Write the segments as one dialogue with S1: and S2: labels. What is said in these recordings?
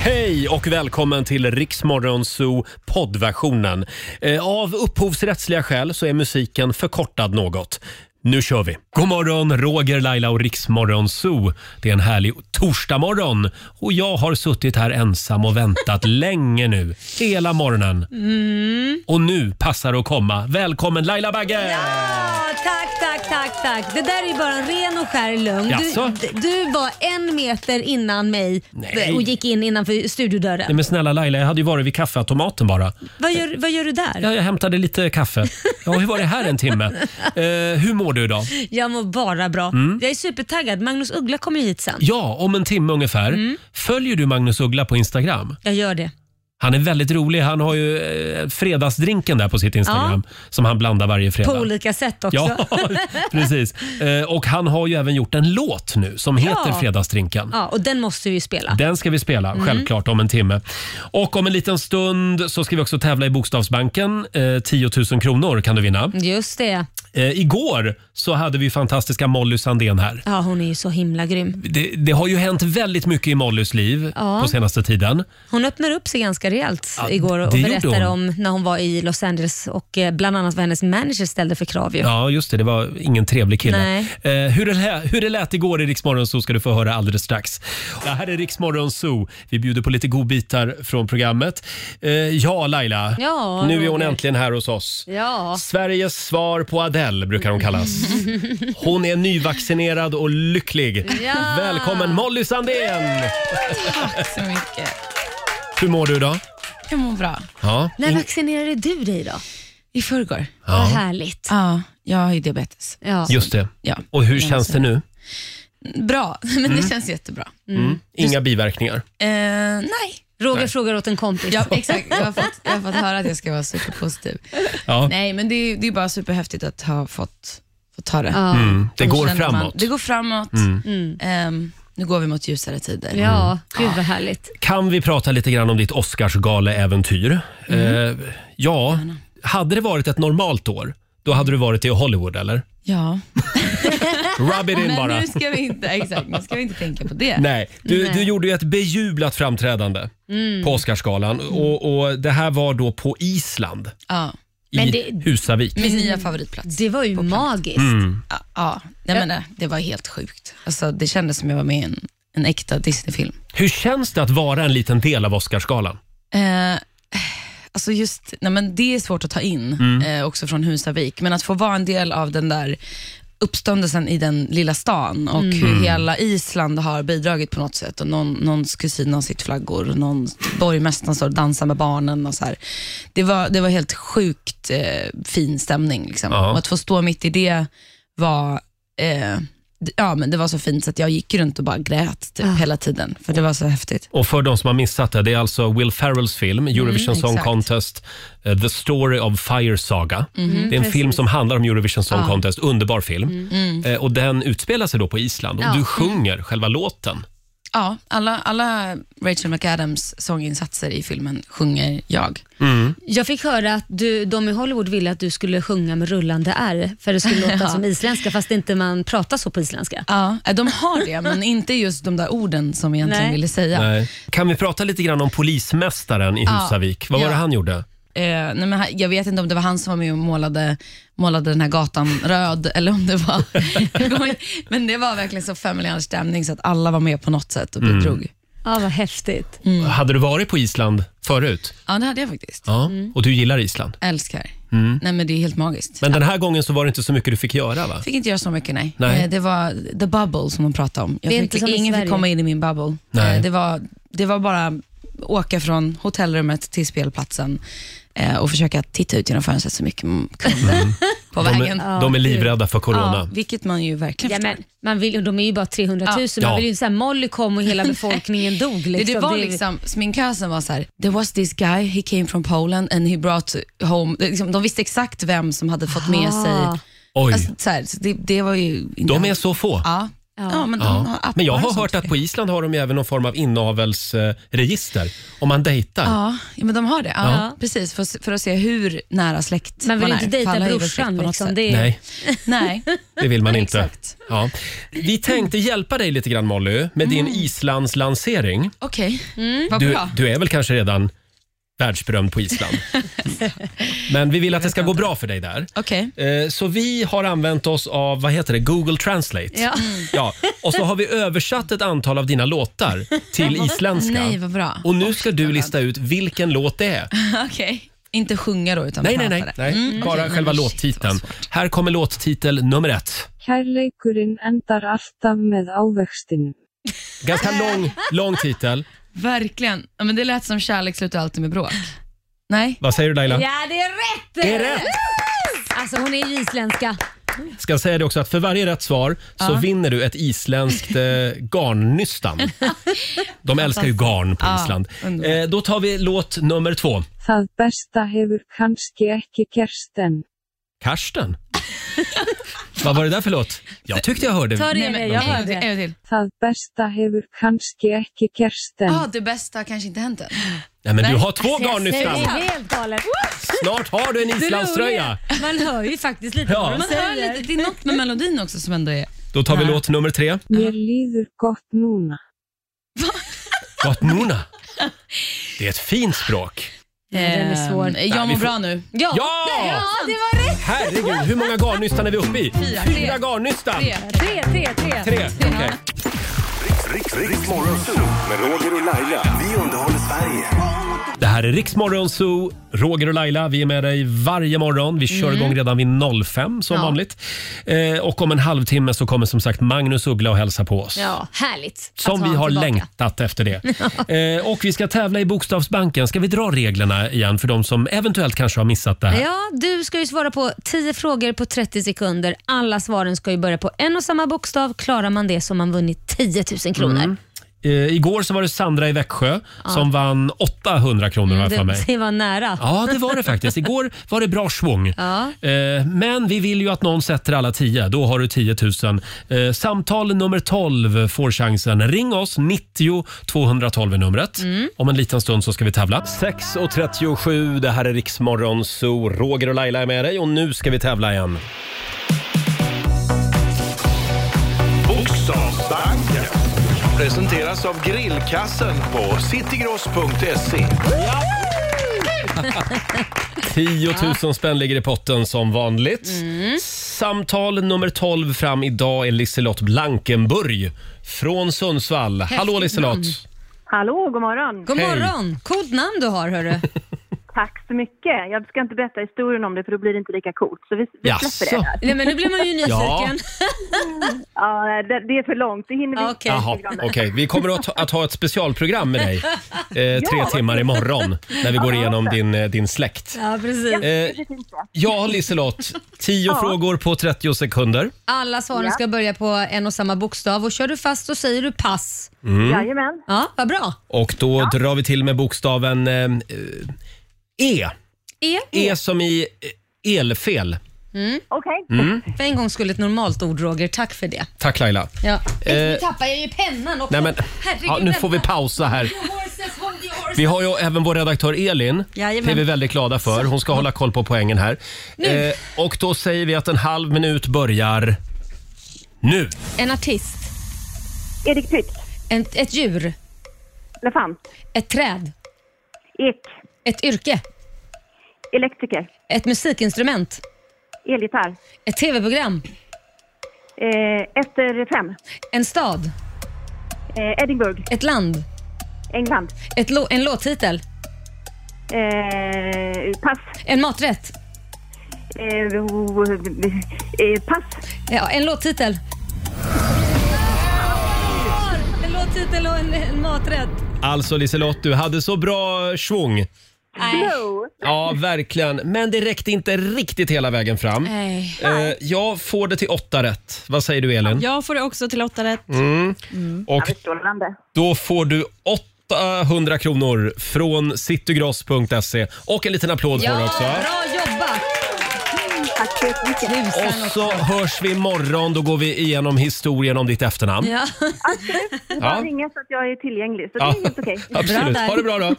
S1: Hej och välkommen till Riksmorgon Zoo poddversionen. Eh, Av upphovsrättsliga skäl så är musiken förkortad något. Nu kör vi! God morgon, Roger, Laila och Riksmorgon Zoo. Det är en härlig torsdagmorgon och jag har suttit här ensam och väntat länge nu. Hela morgonen. Och nu passar det att komma. Välkommen Laila Bagge!
S2: Ja, tack, tack, tack, tack. Det där är ju bara en ren och skär lögn.
S1: Jaså?
S2: Du, d- du var en meter innan mig
S1: Nej.
S2: och gick in innanför studiodörren.
S1: Nej men snälla Laila, jag hade ju varit vid kaffeautomaten bara.
S2: Vad, gör, vad gör du där?
S1: Ja, jag hämtade lite kaffe. Jag har ju varit här en timme. Eh, hur mår du idag?
S2: Jag mår bara bra. Jag är supertaggad. Magnus Uggla kommer ju hit sen.
S1: Mm. Ja, om en timme ungefär.
S2: Mm.
S1: Följer du Magnus Uggla på Instagram?
S2: Jag gör det.
S1: Han är väldigt rolig. Han har ju eh, fredagsdrinken där på sitt Instagram som han blandar varje fredag.
S2: På olika sätt också.
S1: Ja, precis. Eh, Och han har ju även gjort en låt nu som heter
S2: Ja.
S1: Fredagsdrinken.
S2: Ja, Mm. och den måste vi ju spela.
S1: Den ska vi spela, självklart, om en timme. Och om en liten stund så ska vi också tävla i Bokstavsbanken. Eh, 10 000 kronor kan du vinna.
S2: Just det.
S1: Eh, igår så hade vi fantastiska Molly Sandén här.
S2: Ja, hon är ju så himla grym.
S1: Det, det har ju hänt väldigt mycket i Mollys liv
S2: Ja.
S1: på senaste tiden.
S2: Hon öppnade upp sig ganska rejält
S1: Ja,
S2: igår och
S1: det gjorde
S2: berättade
S1: hon.
S2: om när hon var i Los Angeles och eh, bland annat vad hennes manager ställde för krav. Ju.
S1: Ja, just det. Det var ingen trevlig kille.
S2: Nej.
S1: Eh, hur, det lä- hur det lät igår i Riksmorgon så ska du få höra alldeles strax. Det här är Riksmorgon Zoo. Vi bjuder på lite godbitar från programmet. Eh, ja, Laila.
S2: Ja,
S1: nu är hon
S2: Roger.
S1: äntligen här hos oss.
S2: Ja.
S1: Sveriges svar på Adele brukar hon kallas. Hon är nyvaccinerad och lycklig.
S2: Ja.
S1: Välkommen Molly Sandén!
S3: Tack så mycket.
S1: Hur mår du idag?
S3: Jag mår bra.
S1: Ja.
S2: När vaccinerade du dig då?
S3: I förrgår?
S2: Vad härligt.
S3: Ja, jag har ju diabetes.
S2: Ja. Mm.
S1: Just det.
S3: Ja.
S1: Och hur känns det nu? Mm.
S3: Bra, men det känns jättebra. Mm.
S1: Inga biverkningar?
S3: Eh, nej.
S2: Roger frågar åt en kompis.
S3: Ja, exakt. Jag har, fått, jag har fått höra att jag ska vara superpositiv.
S1: Ja.
S3: Nej, men det är, det är bara superhäftigt att ha fått, fått ta det.
S2: Ja. Mm.
S1: Mm. Det
S3: Och
S1: går
S3: känner man-
S1: framåt.
S3: det går framåt.
S1: Mm.
S3: Ehm, nu går vi mot ljusare tider.
S2: Ja, gud vad härligt.
S1: Kan vi prata lite grann om ditt Oscarsgaleäventyr? Eh, ja, hade det varit ett normalt år, då hade du varit i Hollywood eller?
S3: Ja.
S1: Rub it in
S3: Men
S1: bara.
S3: nu ska vi inte, exakt, nu ska vi inte tänka på det.
S1: Nej, du,
S2: Nej.
S1: du gjorde ju ett bejublat framträdande på Oscarsgalan och, och det här var då på Island
S3: Ja.
S1: i
S2: Men det-
S1: Husavik. Mm.
S3: Min nya favoritplats.
S2: Det var ju magiskt.
S3: Ja, Ja, nej, men, nej, det var helt sjukt. Alltså, det kändes som jag var med i en, en äkta Disney-film.
S1: Hur känns det att vara en liten del av Oscarsgalan?
S3: Eh, alltså just, nej, men det är svårt att ta in,
S1: Mm.
S3: eh, också från Husavik, men att få vara en del av den där uppståndelsen i den lilla stan och hur hela Island har bidragit på något sätt. Och någon, någons kusin har sitt flaggor och någon borgmästaren står och dansar med barnen. Och så här. Det, var, det var helt sjukt eh, fin stämning. Liksom.
S1: Ja.
S3: Och att få stå mitt i det var eh, d- Ja, men det var så fint så att jag gick runt och bara grät typ, hela tiden, för det var så häftigt.
S1: Och för de som har missat det, det är alltså Will Ferrells film Eurovision Song
S3: exakt.
S1: Contest, eh, The Story of Fire Saga. det är en film som handlar om Eurovision Song Contest, underbar
S3: Mm.
S1: film. Eh, Och den utspelar sig då på Island och
S2: Ja.
S1: du sjunger själva låten.
S3: Ja, alla, alla Rachel McAdams sånginsatser i filmen sjunger jag.
S1: Mm.
S2: Jag fick höra att du, de i Hollywood ville att du skulle sjunga med rullande R för det skulle låta som isländska fast inte man pratar så på isländska.
S3: Ja, eh, de har det, men inte just de där orden som jag egentligen
S2: Nej.
S3: ville säga. Nej.
S1: Nej. Kan vi prata lite grann om polismästaren i Husavik? Vad var
S3: Ja.
S1: det han gjorde?
S3: Eh, nej, men han- jag vet inte om det var han som var med och målade, målade den här gatan röd, eller om det var... men det var verkligen så familjär stämning, så att alla var med på något sätt och
S1: Mm.
S3: bidrog.
S2: Ja, vad häftigt.
S1: Hade du varit på Island förut?
S3: Ja, det hade jag faktiskt.
S1: Ja.
S2: Mm.
S1: Och du gillar Island? Mm.
S3: Älskar. Nej, men det är helt magiskt.
S1: Men den här gången så var det inte så mycket du fick göra va?
S3: Fick inte göra så mycket, nej.
S1: Nej.
S3: Eh, Det var the bubble som de pratade om. Jag
S2: Det är
S3: fick,
S2: inte som i
S3: ingen
S2: Sverige.
S3: fick komma in i min bubble.
S1: Nej.
S3: Eh, Det, var, det var bara åka från hotellrummet till spelplatsen eh, och försöka titta ut genom fönstret så mycket man kunde på
S1: De
S3: vägen.
S1: är, de är livrädda för
S3: Ja,
S1: corona.
S3: vilket man ju verkligen
S2: Ja,
S3: förstår.
S2: men, man vill, och de är ju bara 300 000,
S1: Ja.
S2: man vill ju inte säga Molly kom och hela befolkningen dog.
S3: Det,
S2: Liksom.
S3: det var
S2: är-
S3: liksom, sminkösen var så här, there was this guy, he came from Poland and he brought home, det- liksom, de visste exakt vem som hade fått med sig,
S2: Ah.
S1: Oj,
S3: alltså, så här, så det, det var ju...
S1: de är så få.
S3: Ja, Ja,
S2: Ja.
S3: men, de har
S1: Ja.
S3: appar
S1: Men jag
S3: och
S1: har
S3: sånt
S1: hört
S3: för
S1: att
S3: det.
S1: på Island har de ju även någon form av inavelsregister om man dejtar.
S3: Ja, ja, men de har det. Ja,
S2: Ja.
S3: Precis, för, för att se hur nära släkt
S2: Man vill
S3: är.
S2: inte dejta
S3: För alla är väl släkt
S2: brorsan.
S3: på något
S2: Liksom.
S3: sätt.
S2: Det är,
S1: Nej,
S3: Nej,
S1: det vill man inte.
S3: exakt.
S1: Ja. Vi tänkte hjälpa dig lite grann Molly med din Islands lansering.
S3: Okej, Mm.
S2: Mm.
S3: vad
S1: Du,
S3: bra.
S1: du är väl kanske redan världsberömd på Island. Men vi vill att det ska gå bra för dig där.
S3: Okej.
S1: Eh, Så vi har använt oss av vad heter det, Google Translate.
S3: Mm.
S2: Ja.
S1: Ja, och så har vi översatt ett antal av dina låtar till isländska.
S3: Nej, vad bra.
S1: Och nu ska du lista ut vilken låt det är.
S3: Okej. Inte sjunga då, utan
S1: Nej, nej,
S3: prata
S1: nej.
S3: det.
S1: nej. Bara
S3: Mm, Okej,
S1: själva
S3: men shit,
S1: låttiteln.
S3: vad svårt.
S1: Här kommer låttitel nummer ett.
S4: Kærleikurinn endar alltaf með ávextinum.
S1: Ganska lång, lång titel.
S3: Verkligen. Ja, men det lät som kärlek slutar alltid med bråk. Nej?
S1: Vad säger du Laila?
S2: ja, det är rätt!
S1: Det är rätt!
S2: Alltså hon är ju isländska.
S1: Ska säga det också att för varje rätt svar så vinner du ett isländskt eh, garnnystan. De älskar ju garn på
S3: Ja,
S1: Island.
S3: underbart.
S1: Eh, då tar vi låt nummer två.
S4: Það besta hefur kannski ekki gerst en.
S1: Karsten? Vad var det där för låt? Jag tyckte jag hörde.
S2: Ta det
S3: nej
S2: i dig,
S3: men,
S2: jag
S3: en gång
S2: hör
S3: till,
S2: det.
S3: en gång till.
S4: Það besta hefur kannski ekki gerst en.
S3: Ah, det bästa har kanske inte hänt än.
S1: Nej, men du
S3: Nej.
S1: har två
S2: Det är
S1: garnnystan.
S2: Alltså, helt galet.
S1: Snart har du en
S2: Det
S1: islandströja.
S2: roliga, Man hör ju faktiskt lite
S1: Ja.
S2: vad de
S3: Man hör lite,
S2: säger.
S3: det är något med melodin också som ändå är...
S1: Då tar vi låt nummer tre.
S4: Mér líður gott núna.
S1: Vatnuna. Det är ett fint språk.
S2: Den är svår.
S3: Ehm, Jag
S1: vi
S3: mår
S1: får-
S3: bra nu.
S2: Ja!
S1: Ja!
S2: ja, det var rätt!
S1: Herregud, hur många garnnystan är vi uppe i?
S3: Fyra.
S1: Fyra garnnystan.
S3: Tre.
S2: Tre, tre, tre.
S1: Tre. Okej.
S5: Riks, Riks Morgonzoo med Roger och Laila. Vi underhåller Sverige.
S1: Det här är Riksmorgon Zoo. Roger och Laila, vi är med dig varje morgon. Vi
S2: Mm.
S1: kör igång redan vid 05 som
S3: Ja.
S1: vanligt. Eh, och om en halvtimme så kommer som sagt Magnus Uggla och hälsa på oss.
S2: Ja, härligt. att
S1: Som
S2: ha honom
S1: vi har
S2: tillbaka.
S1: längtat efter det. Eh, och vi ska tävla i Bokstavsbanken. Ska vi dra reglerna igen för de som eventuellt kanske har missat det här?
S2: Ja, du ska ju svara på 10 frågor på 30 sekunder. Alla svaren ska ju börja på en och samma bokstav. Klarar man det så har man vunnit 10 000 kronor.
S1: Eh, igår så var det Sandra i Växjö som vann 800 kronor har jag för
S2: det,
S1: mig.
S2: det var nära.
S1: Ja, det var det faktiskt. Igår var det bra svung.
S2: Ja.
S1: Eh, Men vi vill ju att någon sätter alla 10. Då har du 10 000. Eh, Samtal nummer 12 får chansen. Ring oss. 90 212 är numret. Om en liten stund så ska vi tävla. 6.37, det här är Riksmorgon Zoo. Roger och Laila är med dig och nu ska vi tävla igen.
S6: Bokstavsbanken presenteras av grillkassen på citygross.se.
S1: 10 000 spänn ligger i potten som vanligt. Samtal nummer 12 fram idag är Liselott Blankenburg från Sundsvall. Hallå Liselott!
S7: Hallå, god morgon.
S2: God
S1: Hej.
S2: morgon! Coolt namn du har hörru.
S7: Tack så mycket. Jag ska inte berätta historien om det för då blir det inte lika coolt. Så vi, vi släpper
S1: Jaså?
S7: det.
S2: Nej, men nu blir man ju
S1: Ja.
S2: nyfiken.
S7: Ja, det. Det är för långt, det hinner vi
S2: Ja.
S7: inte.
S2: Okej.
S1: Jaha, okej. Vi kommer att, att ha ett specialprogram med dig eh, tre timmar imorgon när vi går igenom din, eh, din släkt.
S2: Ja, precis.
S1: Eh, ja, Liselott. Tio frågor på 30 sekunder.
S2: Alla svaren ska börja på en och samma bokstav och kör du fast så säger du pass.
S1: Mm.
S7: Jajamän.
S2: Ja, vad bra.
S1: Och då drar vi till med bokstaven eh, eh, E.
S2: E, Mm.
S1: E som i eh, elfel.
S7: Okej.
S1: Mm.
S2: för en gång skulle ett normalt ord Roger. Tack för det.
S1: Tack Laila.
S2: Ja.
S1: Eh,
S2: nu tappar jag ju pennan också.
S1: Nej, men,
S2: Herregud,
S1: ja, nu får vi pausa här. Vi har ju även vår redaktör Elin.
S2: Jajamän.
S1: Det är vi väldigt glada för. Hon ska hålla koll på poängen här. Eh, och då säger vi att en halv minut börjar nu.
S2: En artist,
S7: Erik Pytt.
S2: en, ett djur,
S7: Elefant.
S2: ett träd,
S7: Ek.
S2: ett yrke,
S7: Elektriker.
S2: ett musikinstrument,
S7: Elgitarr.
S2: ett tv-program,
S7: Eh, efter fem.
S2: en stad,
S7: Eh, Edinburgh.
S2: ett land,
S7: England.
S2: ett lå- en låttitel,
S7: Eh, pass.
S2: en maträtt,
S7: Eh, o- eh, pass.
S2: ja, en låttitel. En låttitel och en, en maträtt.
S1: Alltså Liselott, du hade så bra svung.
S2: Nej.
S7: Oh.
S1: Ja, verkligen. Men det räckte inte riktigt hela vägen fram.
S3: Nej.
S1: Eh, jag får det till åtta rätt. Vad säger du Elin?
S8: Jag får det också till åtta rätt.
S9: Mm.
S1: Och
S7: Strålande.
S1: då får du 800 kronor från citygross.se. Och en liten applåd får du
S2: Ja,
S1: också.
S2: bra jobbat!
S7: Tack så jättemycket.
S1: Och så hörs vi imorgon. Då går vi igenom historien om ditt efternamn.
S2: Ja.
S7: Du
S1: Ja.
S7: bara ringa så att jag är tillgänglig. Så
S1: Ja.
S7: det är helt okej.
S1: Absolut.
S2: där.
S1: Ha det bra då.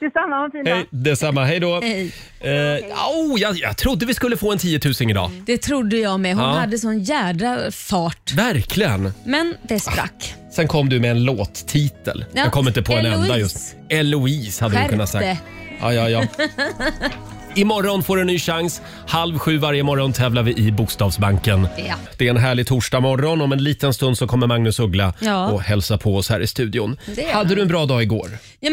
S7: Detsamma, ha en fin dag.
S1: Hej, detsamma. Hej då.
S2: Hej.
S1: Eh, oh, jag, jag trodde vi skulle få en 10 000 idag.
S2: Det trodde jag med. Hon
S1: Ja.
S2: hade sån jädra fart.
S1: Verkligen.
S2: Men det sprack.
S1: Sen kom du med en låttitel.
S2: Ja,
S1: Jag kommer inte på en
S2: Eloise.
S1: enda just. Eloise hade du
S2: Skärp
S1: kunnat säga.
S2: dig.
S1: Ja, ja, ja. Imorgon får du en ny chans. Halv sju varje morgon tävlar vi i Bokstavsbanken.
S2: Ja.
S1: Det är en härlig torsdag morgon. Om en liten stund så kommer Magnus Uggla
S2: Ja.
S1: och hälsa på oss här i studion.
S2: Det är
S1: Hade
S2: han.
S1: du en bra dag igår?
S2: Ja,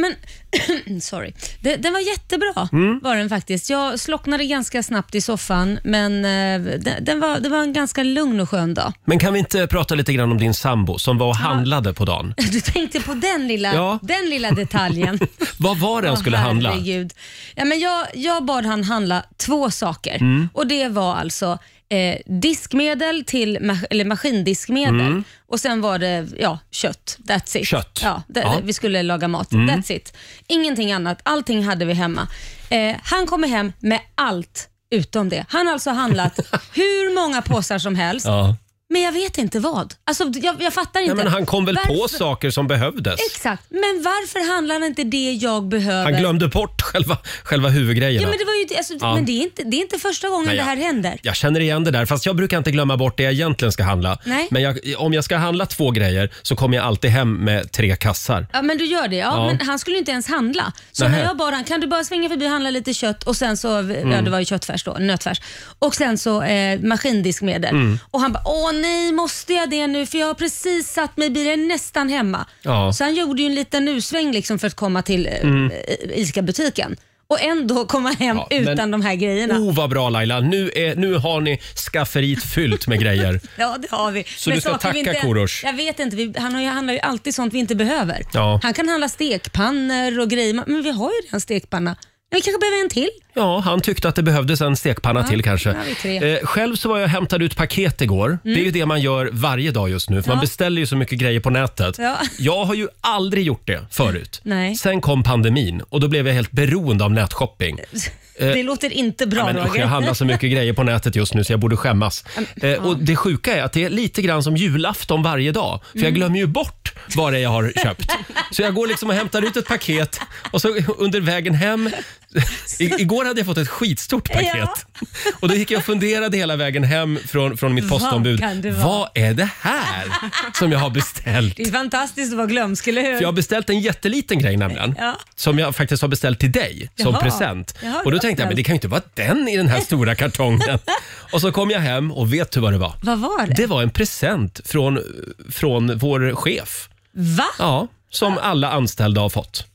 S2: men, sorry. Det, den var jättebra,
S1: Mm.
S2: var den faktiskt. Jag slocknade ganska snabbt i soffan, men eh, den, den var, det var en ganska lugn och skön dag.
S1: Men kan vi inte prata lite grann om din sambo som var och handlade på dagen?
S2: Du tänkte på den lilla,
S1: Ja.
S2: den lilla detaljen.
S1: Vad var det han
S2: Åh,
S1: skulle handla?
S2: herregud. Ja, men jag, jag bad han handla två saker
S1: Mm.
S2: och det var alltså eh, diskmedel till ma- eller
S1: Mm.
S2: maskindiskmedel och sen var det ja, kött. That's it.
S1: Kött.
S2: Ja, det-
S1: Ja. Mm.
S2: Vi skulle laga mat. That's it. Ingenting annat. Allting hade vi hemma. Eh, han kommer hem med allt utom det. Han har alltså handlat hur många påsar som helst,
S1: Ja.
S2: men jag vet inte vad. Alltså, jag, jag fattar inte.
S1: Nej, men han kom väl på
S2: Varför-
S1: saker som behövdes?
S2: Exakt, men varför handlar han inte det jag behöver?
S1: Han glömde bort själva, själva huvudgrejerna.
S2: Ja, men det, var ju, det- alltså,
S1: Ja.
S2: men det, är inte, det är inte första gången
S1: Nej,
S2: det här
S1: jag-
S2: händer.
S1: Jag känner igen det där, fast jag brukar inte glömma bort det jag egentligen ska handla.
S2: Nej.
S1: Men jag, om jag ska handla två grejer så kommer jag alltid hem med tre kassar.
S2: Ja, men du gör det. Ja,
S1: Ja.
S2: Men han skulle ju inte ens handla. Så
S1: Nähä. Mm.
S2: när jag bara, kan du bara svänga förbi och handla lite kött och sen så, ja det var ju köttfärs då, nötfärs. Och sen så eh, maskindiskmedel.
S1: Mm.
S2: Och han bara, åh nej måste jag det nu för jag har precis satt mig i bilen nästan hemma.
S1: Ja. Mm.
S2: Så han gjorde ju en liten usväng liksom för att komma till eh, eh, ICA-butiken. Och ändå komma hem
S1: Ja, men-
S2: utan de här grejerna.
S1: Oh, vad bra Laila! Nu, är, nu har ni skafferiet fyllt med grejer.
S2: Ja, det har vi.
S1: Så du ska
S2: saker vi
S1: tacka
S2: inte-
S1: Korosh?
S2: Jag vet inte. Vi, han har ju- handlar ju alltid sånt vi inte behöver.
S1: Ja.
S2: Han kan handla stekpannor och grejer, men vi har ju redan stekpanna. Men vi kanske behöver en till.
S1: Ja, han tyckte att det behövdes en stekpanna till kanske.
S2: nu har vi tre. Mm.
S1: Eh, själv så var jag och hämtade ut paket igår. Det är ju det man gör varje dag just nu, för man
S2: Ja.
S1: beställer ju så mycket grejer på nätet.
S2: Ja.
S1: Jag har ju aldrig gjort det förut.
S2: Nej.
S1: Sen kom pandemin och då blev jag helt beroende av nätshopping. Eh,
S2: Det låter inte bra,
S1: Ja, men, usch,
S2: Roger.
S1: jag handlar så mycket grejer på nätet just nu så jag borde skämmas. Eh, och Det sjuka är att det är lite grann som julafton varje dag. För
S2: Mm.
S1: jag glömmer ju bort vad det är jag har köpt. Så jag går liksom och hämtar ut ett paket och så under vägen hem. I, igår hade jag fått ett skitstort paket. Och då gick jag och funderade hela vägen hem från, från mitt
S2: Vad
S1: postombud.
S2: kan det vara?
S1: Vad är det här som jag har beställt?
S2: Det är fantastiskt att vara glömsk, eller hur?
S1: För jag har beställt en jätteliten grej nämligen.
S2: Ja.
S1: Som jag faktiskt har beställt till dig som
S2: Jaha.
S1: present.
S2: Jaha,
S1: och då
S2: det
S1: tänkte jag,
S2: var
S1: men det kan ju inte vara den i den här stora kartongen. och så kom jag hem och vet du vad det var?
S2: Vad var det?
S1: Det var en present från, från vår chef.
S2: Va?
S1: Ja, som alla anställda har fått.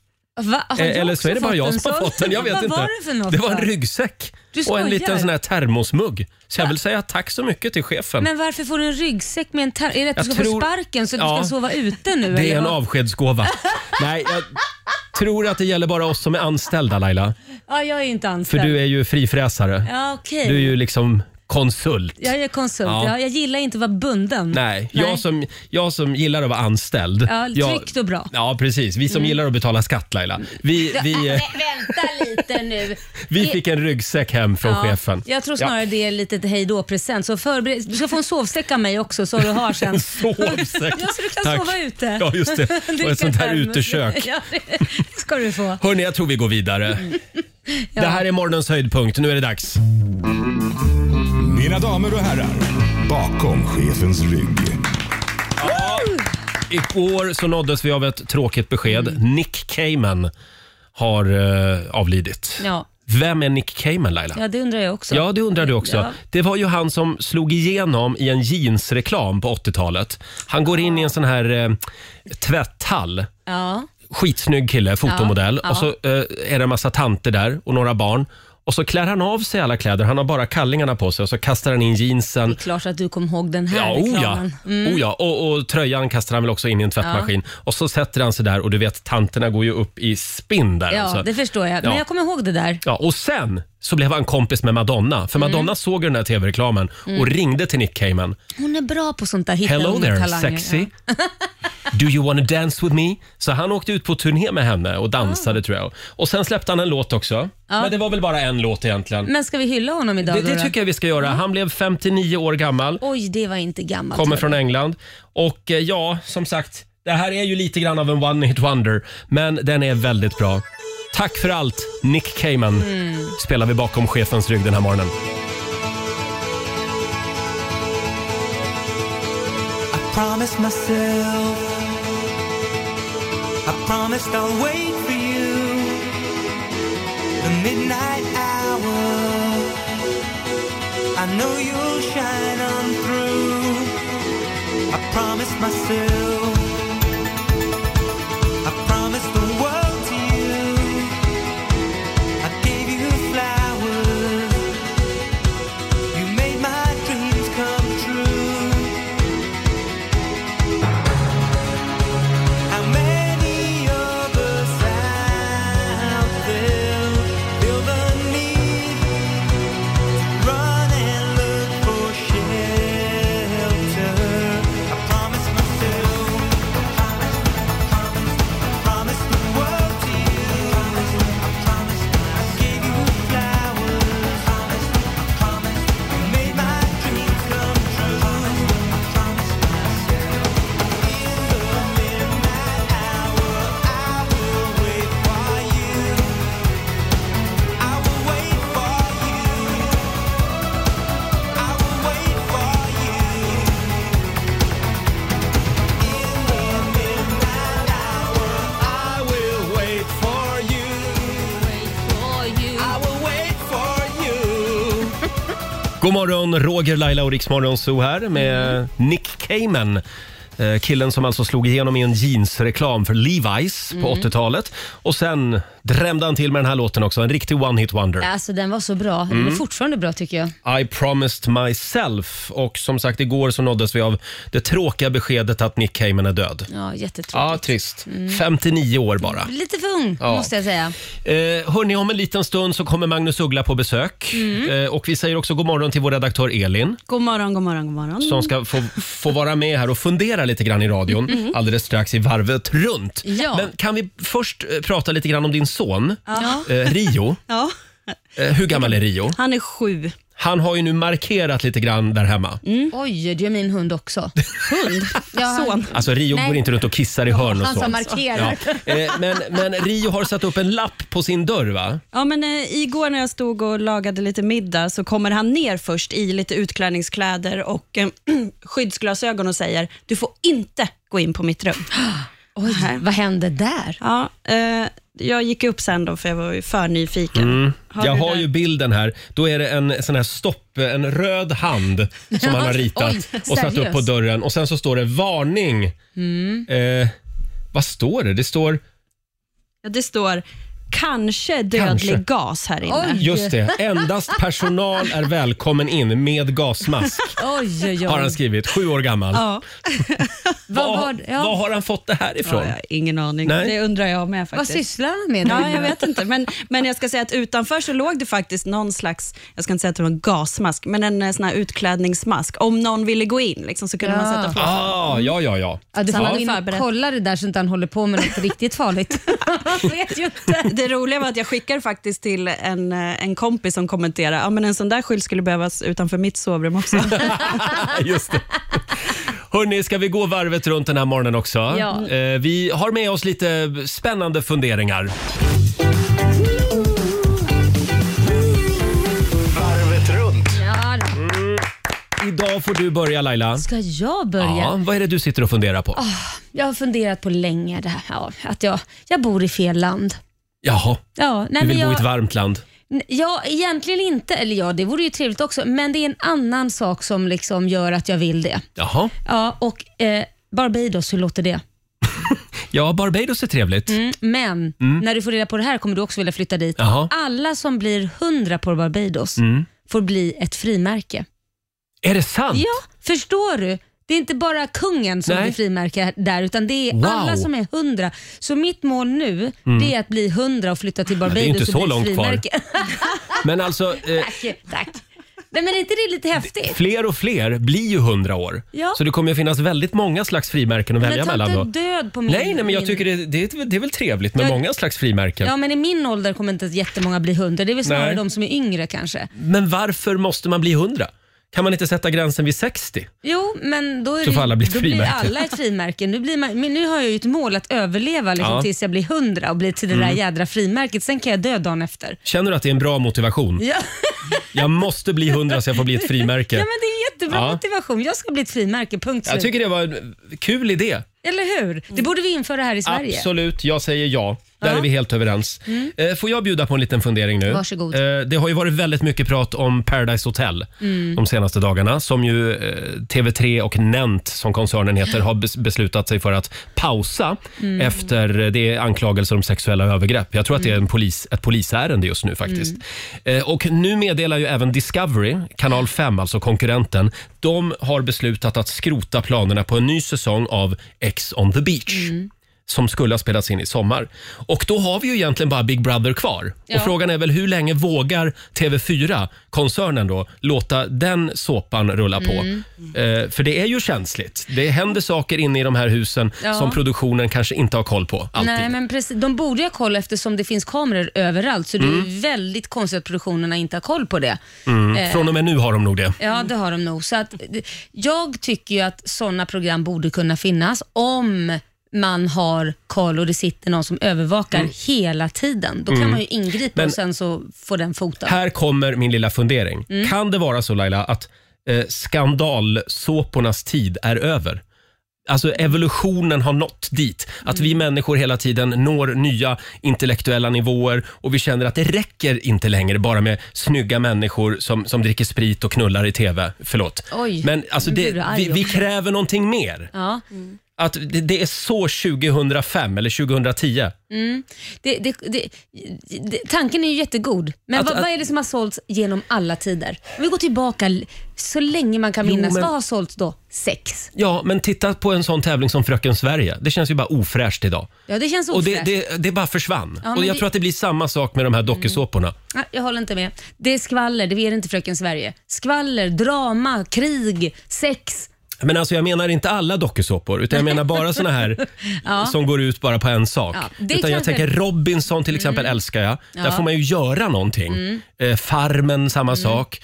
S2: Va? Har
S1: Eh,
S2: Ah. Alltså, jag
S1: Eller så är det
S2: också
S1: bara jag
S2: fått
S1: som har
S2: en
S1: fått
S2: sån?
S1: den. Jag vet
S2: Vad
S1: inte.
S2: var det för något
S1: det var en
S2: då?
S1: ryggsäck
S2: Du
S1: och en
S2: skojar.
S1: liten sån här termosmugg. Så jag vill säga tack så mycket till chefen.
S2: Men varför får du en ryggsäck med en tar- Är det att
S1: Jag
S2: du ska
S1: tror-
S2: få sparken så
S1: Ja.
S2: du ska sova ute nu?
S1: det
S2: eller
S1: är en
S2: vad?
S1: avskedsgåva. Nej, jag tror att det gäller bara oss som är anställda Laila.
S2: Ja, jag är ju inte
S1: För
S2: anställd.
S1: du är ju frifräsare.
S2: Ja, okej.
S1: Du är ju liksom konsult.
S2: Jag är konsult.
S1: Ja.
S2: Ja, jag gillar inte att vara bunden.
S1: Nej, jag som, jag som gillar att vara anställd.
S2: Mm. Ja,
S1: jag,
S2: tryggt Mm. och bra.
S1: Ja, precis. Vi som gillar att betala skatt Laila. Vi, vi, eh,
S2: Vänta lite nu.
S1: vi fick en ryggsäck hem från chefen.
S2: Jag tror snarare det är lite ett hej då-present. Så förbered, du ska få en sovsäck av mig också så du har sen.
S1: Sovsäck.
S2: Ja, så du kan
S1: Tack.
S2: sova ute.
S1: Ja, just det. Och ett sånt här
S2: Dricka termos.
S1: utekök.
S2: Ja, det ska du få.
S1: Hörni, jag tror vi går vidare. Det här är morgonens höjdpunkt. Nu är det dags.
S6: Mina damer och herrar, bakom chefens rygg.
S1: Igår så nåddes vi av ett tråkigt besked.
S2: Mm.
S1: Nick Cayman har eh, avlidit.
S2: Ja.
S1: Vem är Nick Cayman Laila?
S2: Ja, det undrar jag också.
S1: Ja, det undrar du också.
S2: Ja.
S1: Det var ju han som slog igenom i en jeansreklam på 80-talet. Han går in i en sån här eh, tvätthall.
S2: Ja.
S1: Skitsnygg kille, fotomodell.
S2: Ja, ja.
S1: Och så eh, är det en massa tanter där och några barn. Och så klär han av sig alla kläder. Han har bara kallingarna på sig och så kastar han in
S2: Det
S1: jeansen.
S2: är klart att du kom ihåg den här
S1: Ja, oh ja.
S2: reklamen. Mm.
S1: Oh ja. Och, och tröjan kastar han väl också in i en tvättmaskin. Och så sätter han sig där och du vet, tanterna går ju upp i spinn där.
S2: Ja,
S1: alltså.
S2: det förstår jag.
S1: Ja.
S2: Men jag kommer ihåg det där.
S1: Ja, och sen så blev han kompis med Madonna.
S2: Mm.
S1: För Madonna såg ju den här tv-reklamen och ringde till Nick Cayman.
S2: Hon är bra på sånt där. Hitta
S1: Hello
S2: unga
S1: there
S2: talanger.
S1: sexy. Do you wanna dance with me? Så han åkte ut på turné med henne och
S2: Ah.
S1: dansade tror jag. Och sen släppte han en låt också. Men det var väl bara en låt egentligen.
S2: Men ska vi hylla honom idag
S1: Det,
S2: då
S1: det
S2: då? Mm.
S1: tycker jag vi ska göra. Han blev 59 år gammal,
S2: Oj, det var inte gammalt.
S1: kommer från England. Och eh, ja, som sagt, det här är ju lite grann av en one-hit wonder, men den är väldigt bra. Tack för allt, Nick Cayman. Spelar vi bakom chefens rygg den här morgonen.
S8: promised myself I promised I'll wait for you The midnight hour I know you'll shine on through I promised myself I promised the world to you I gave you flowers You made my dreams come true How many of us out there feel the need run and look for shelter? I promise myself, promise, promise, promise the world to you. I promise, I gave you flowers. Promise, promise, you made my dreams come true. I promise myself.
S1: God morgon, Roger, Laila och Riksmorgon Zoo här med Nick Cayman. Eh, Killen som alltså slog igenom i en jeansreklam för Levi's på 80-talet. Och sen drämde han till med den här låten också, en riktig one-hit wonder.
S2: Alltså den var så bra. Den är
S1: Mm.
S2: fortfarande bra tycker jag.
S1: I promised myself. Och som sagt, igår så nåddes vi av det tråkiga beskedet att Nick Cayman är död.
S2: Ja, jättetråkigt.
S1: Ja, trist. 59 år bara.
S2: Lite för ung
S1: Ja.
S2: måste jag säga.
S1: Eh, hörni, om en liten stund så kommer Magnus Uggla på besök.
S2: Mm.
S1: Eh, och vi säger också god morgon till vår redaktör Elin.
S9: God morgon, god morgon, god
S2: Mm.
S9: morgon.
S1: som ska få, få vara med här och fundera lite grann i radion alldeles strax i varvet runt.
S2: Mm. Ja.
S1: Men kan vi först eh, prata lite grann om din son
S2: Ja.
S1: eh, Rio?
S9: Ja,
S1: Eh, hur gammal är Rio?
S9: han är sju.
S1: Han har ju nu markerat lite grann där hemma.
S2: Mm. Oj, det är min hund också. Hund? Ja,
S9: Son.
S1: Alltså Rio
S2: Nej.
S1: går inte runt och kissar i hörn och
S2: han som
S1: så.
S2: markerar.
S1: Ja. Eh, men, men Rio har satt upp en lapp på sin dörr va?
S9: Ja, men, eh, igår när jag stod och lagade lite middag så kommer han ner först i lite utklädningskläder och eh, skyddsglasögon och säger du får inte gå in på mitt rum.
S2: Oj, vad hände där?
S9: Ja, eh, jag gick upp sen då för jag var ju för nyfiken. Har
S1: Mm. Jag
S9: du
S1: har
S9: det?
S1: ju bilden här. Då är det en sån här stopp, en röd hand som han har ritat
S2: Oj,
S1: och satt upp på
S2: seriöst?
S1: dörren. Och sen så står det varning.
S2: Mm.
S1: Eh, vad står det? Det står
S9: Ja, det står kanske dödlig
S1: Kanske.
S9: gas här inne.
S2: Oj.
S1: Just det. Endast personal är välkommen in med gasmask,
S2: Oj, oj,
S1: har han
S2: oj.
S1: skrivit. Sju år gammal.
S9: Ja,
S2: Vad,
S1: Var,
S2: var, ja,
S1: var har han fått det här ifrån?
S9: ja, jag har ingen aning.
S1: Nej.
S9: Det undrar jag med
S2: vad
S9: faktiskt.
S2: sysslar han med?
S9: Ja, jag vet inte. Men, men jag ska säga att utanför så låg det faktiskt någon slags, jag ska inte säga att det var en gasmask, men en eh, sån här utklädningsmask. Om någon ville gå in liksom, så kunde man
S2: Ja.
S9: sätta på.
S1: Ah, ja, ja, ja.
S2: Ja, du får
S9: Så
S2: gå
S9: han
S2: in
S9: var
S2: och
S9: förberedd.
S2: kolla det där så inte han håller på med något riktigt farligt. Man vet ju inte.
S9: Det roliga var att jag skickade faktiskt till en, eh, en kompis som kommenterade, ja men en sån där skylt skulle behövas utanför mitt sovrum också.
S1: Just det. Hörni, ska vi gå varvet runt den här morgonen också?
S2: Ja.
S1: Eh, vi har med oss lite spännande funderingar.
S5: Varvet runt.
S2: Ja, då.
S1: Mm. Idag får du börja Laila.
S2: ska jag börja? Ah,
S1: Ja, vad är det du sitter och funderar på?
S2: Jag har funderat på länge det här, ja, att jag, jag bor i fel land.
S1: Jaha,
S2: Ja, nej,
S1: du
S2: men
S1: vill bo i ett
S2: jag,
S1: varmt land.
S2: ja, egentligen inte. Eller ja, det vore ju trevligt också. Men det är en annan sak som liksom gör att jag vill det.
S1: Jaha.
S2: Ja, och eh, Barbados, hur låter det?
S1: Ja, Barbados är trevligt.
S2: Mm, men när du får reda på det här kommer du också vilja flytta dit.
S1: Jaha.
S2: Alla som blir 100 på Barbados
S1: Mm.
S2: får bli ett frimärke.
S1: Är det sant?
S2: Ja, förstår du? Det är inte bara kungen som
S1: Nej.
S2: blir frimärke där, utan det är
S1: Wow. Mm.
S2: alla som är 100. Så mitt mål nu det är att bli 100 och flytta till
S1: det är
S2: Barbados
S1: ju inte så
S2: och bli
S1: långt kvar.
S2: frimärke.
S1: Men alltså, eh,
S2: Tack, tack. Men, men är inte det lite häftigt?
S1: Fler och fler blir ju hundra år.
S2: Ja.
S1: Så det kommer ju finnas väldigt många slags frimärken att välja
S2: Men ta
S1: mellan.
S2: inte
S1: Då.
S2: död på min...
S1: Nej, nej, men jag
S2: min-
S1: tycker det, det, är- det är väl trevligt med
S2: Jag-
S1: många slags frimärken.
S2: Ja, men i min ålder kommer inte jättemånga bli hundra. Det är väl snarare
S1: Nej.
S2: de som är yngre kanske.
S1: Men varför måste man bli hundra? Kan man inte sätta gränsen vid 60?
S2: Jo, men då, är
S1: Så får
S2: det,
S1: alla bli ett
S2: då blir
S1: frimärke.
S2: alla ett frimärke. Nu, blir man, men nu har jag ju ett mål att överleva liksom,
S1: Ja. Mm.
S2: tills jag blir hundra och blir till det där jädra frimärket. Sen kan jag dö dagen efter.
S1: Känner du att det är en bra motivation?
S2: Ja,
S1: Jag måste bli hundra så jag får bli ett frimärke.
S2: ja men det är jättebra
S1: Ja.
S2: motivation. Jag ska bli ett frimärke, punkt
S1: Jag
S2: slut.
S1: tycker det var en kul idé.
S2: Eller hur? Det borde vi införa här i Sverige.
S1: Absolut, jag säger ja. Där
S2: Ja. Mm.
S1: är vi helt överens. Eh, Får jag bjuda på en liten fundering nu?
S2: Varsågod.
S1: Eh, Det har ju varit väldigt mycket prat om Paradise Hotel
S2: Mm.
S1: de senaste dagarna som ju eh, TV3 och Nent, som koncernen heter, har bes- beslutat sig för att pausa
S2: Mm.
S1: efter eh, det är anklagelser om sexuella övergrepp. Jag tror att det är
S2: Mm.
S1: en polis, ett polisärende just nu faktiskt. Eh, Och nu meddelar ju även Discovery, kanal 5, alltså konkurrenten, de har beslutat att skrota planerna på en ny säsong av Ex on the beach
S2: Mm.
S1: som skulle ha spelats in i sommar. Och då har vi ju egentligen bara Big Brother kvar.
S2: Ja.
S1: Och frågan är väl hur länge vågar TV4-koncernen då låta den såpan rulla på?
S2: Mm.
S1: Eh, för det är ju känsligt. Det händer saker inne i de här husen
S2: Ja.
S1: som produktionen kanske inte har koll på alltid.
S2: Nej, men precis. De borde ju ha koll eftersom det finns kameror överallt. Så det är ju väldigt konstigt att produktionerna inte har koll på det. Eh.
S1: Mm. Från och med nu har de nog det.
S2: Ja, det har de nog. Så att, det- jag tycker ju att sådana program borde kunna finnas om man har koll och det sitter någon som övervakar hela tiden. Då kan man ju ingripa
S1: Mm. Men-
S2: och sen så Mm. får den fotad.
S1: Här kommer min lilla fundering. Kan det vara så Laila att eh, skandalsåpornas tid är över? Alltså evolutionen har nått dit. Att
S2: Mm.
S1: vi människor hela tiden når nya intellektuella nivåer och vi känner att det räcker inte längre bara med snygga människor som, som dricker sprit och knullar i TV. Förlåt.
S2: Oj,
S1: Men alltså
S2: nu
S1: det,
S2: blir du arg
S1: vi, vi
S2: också.
S1: kräver någonting mer.
S2: Ja.
S1: Att det, det är så 2005 eller 2010.
S2: Mm. Det, det, det, det, tanken är ju jättegod, men
S1: Att-
S2: vad,
S1: att-
S2: vad är det som har sålts genom alla tider? Om vi går tillbaka l- så länge man kan
S1: Jo,
S2: minnas,
S1: men-
S2: vad har sålts då? Sex.
S1: Ja, men titta på en sån tävling som Fröken Sverige. Det känns ju bara ofräscht idag.
S2: Ja, det känns
S1: Och
S2: ofräscht.
S1: det, det, det bara försvann.
S2: Ja, men
S1: och jag
S2: det-
S1: tror att det blir samma sak med de här dokusåporna.
S2: Nej, Jag håller inte med. Det är skvaller, det är inte Fröken Sverige. Skvaller, drama, krig, sex.
S1: Men alltså jag menar inte alla dokusåpor, utan jag menar bara såna här
S2: Ja.
S1: som går ut bara på en sak.
S2: Ja,
S1: utan
S2: det
S1: jag
S2: kanske- Mm.
S1: tänker Robinson till exempel älskar jag.
S2: Ja.
S1: Där
S2: Mm.
S1: får man ju göra någonting. Eh, farmen, samma sak.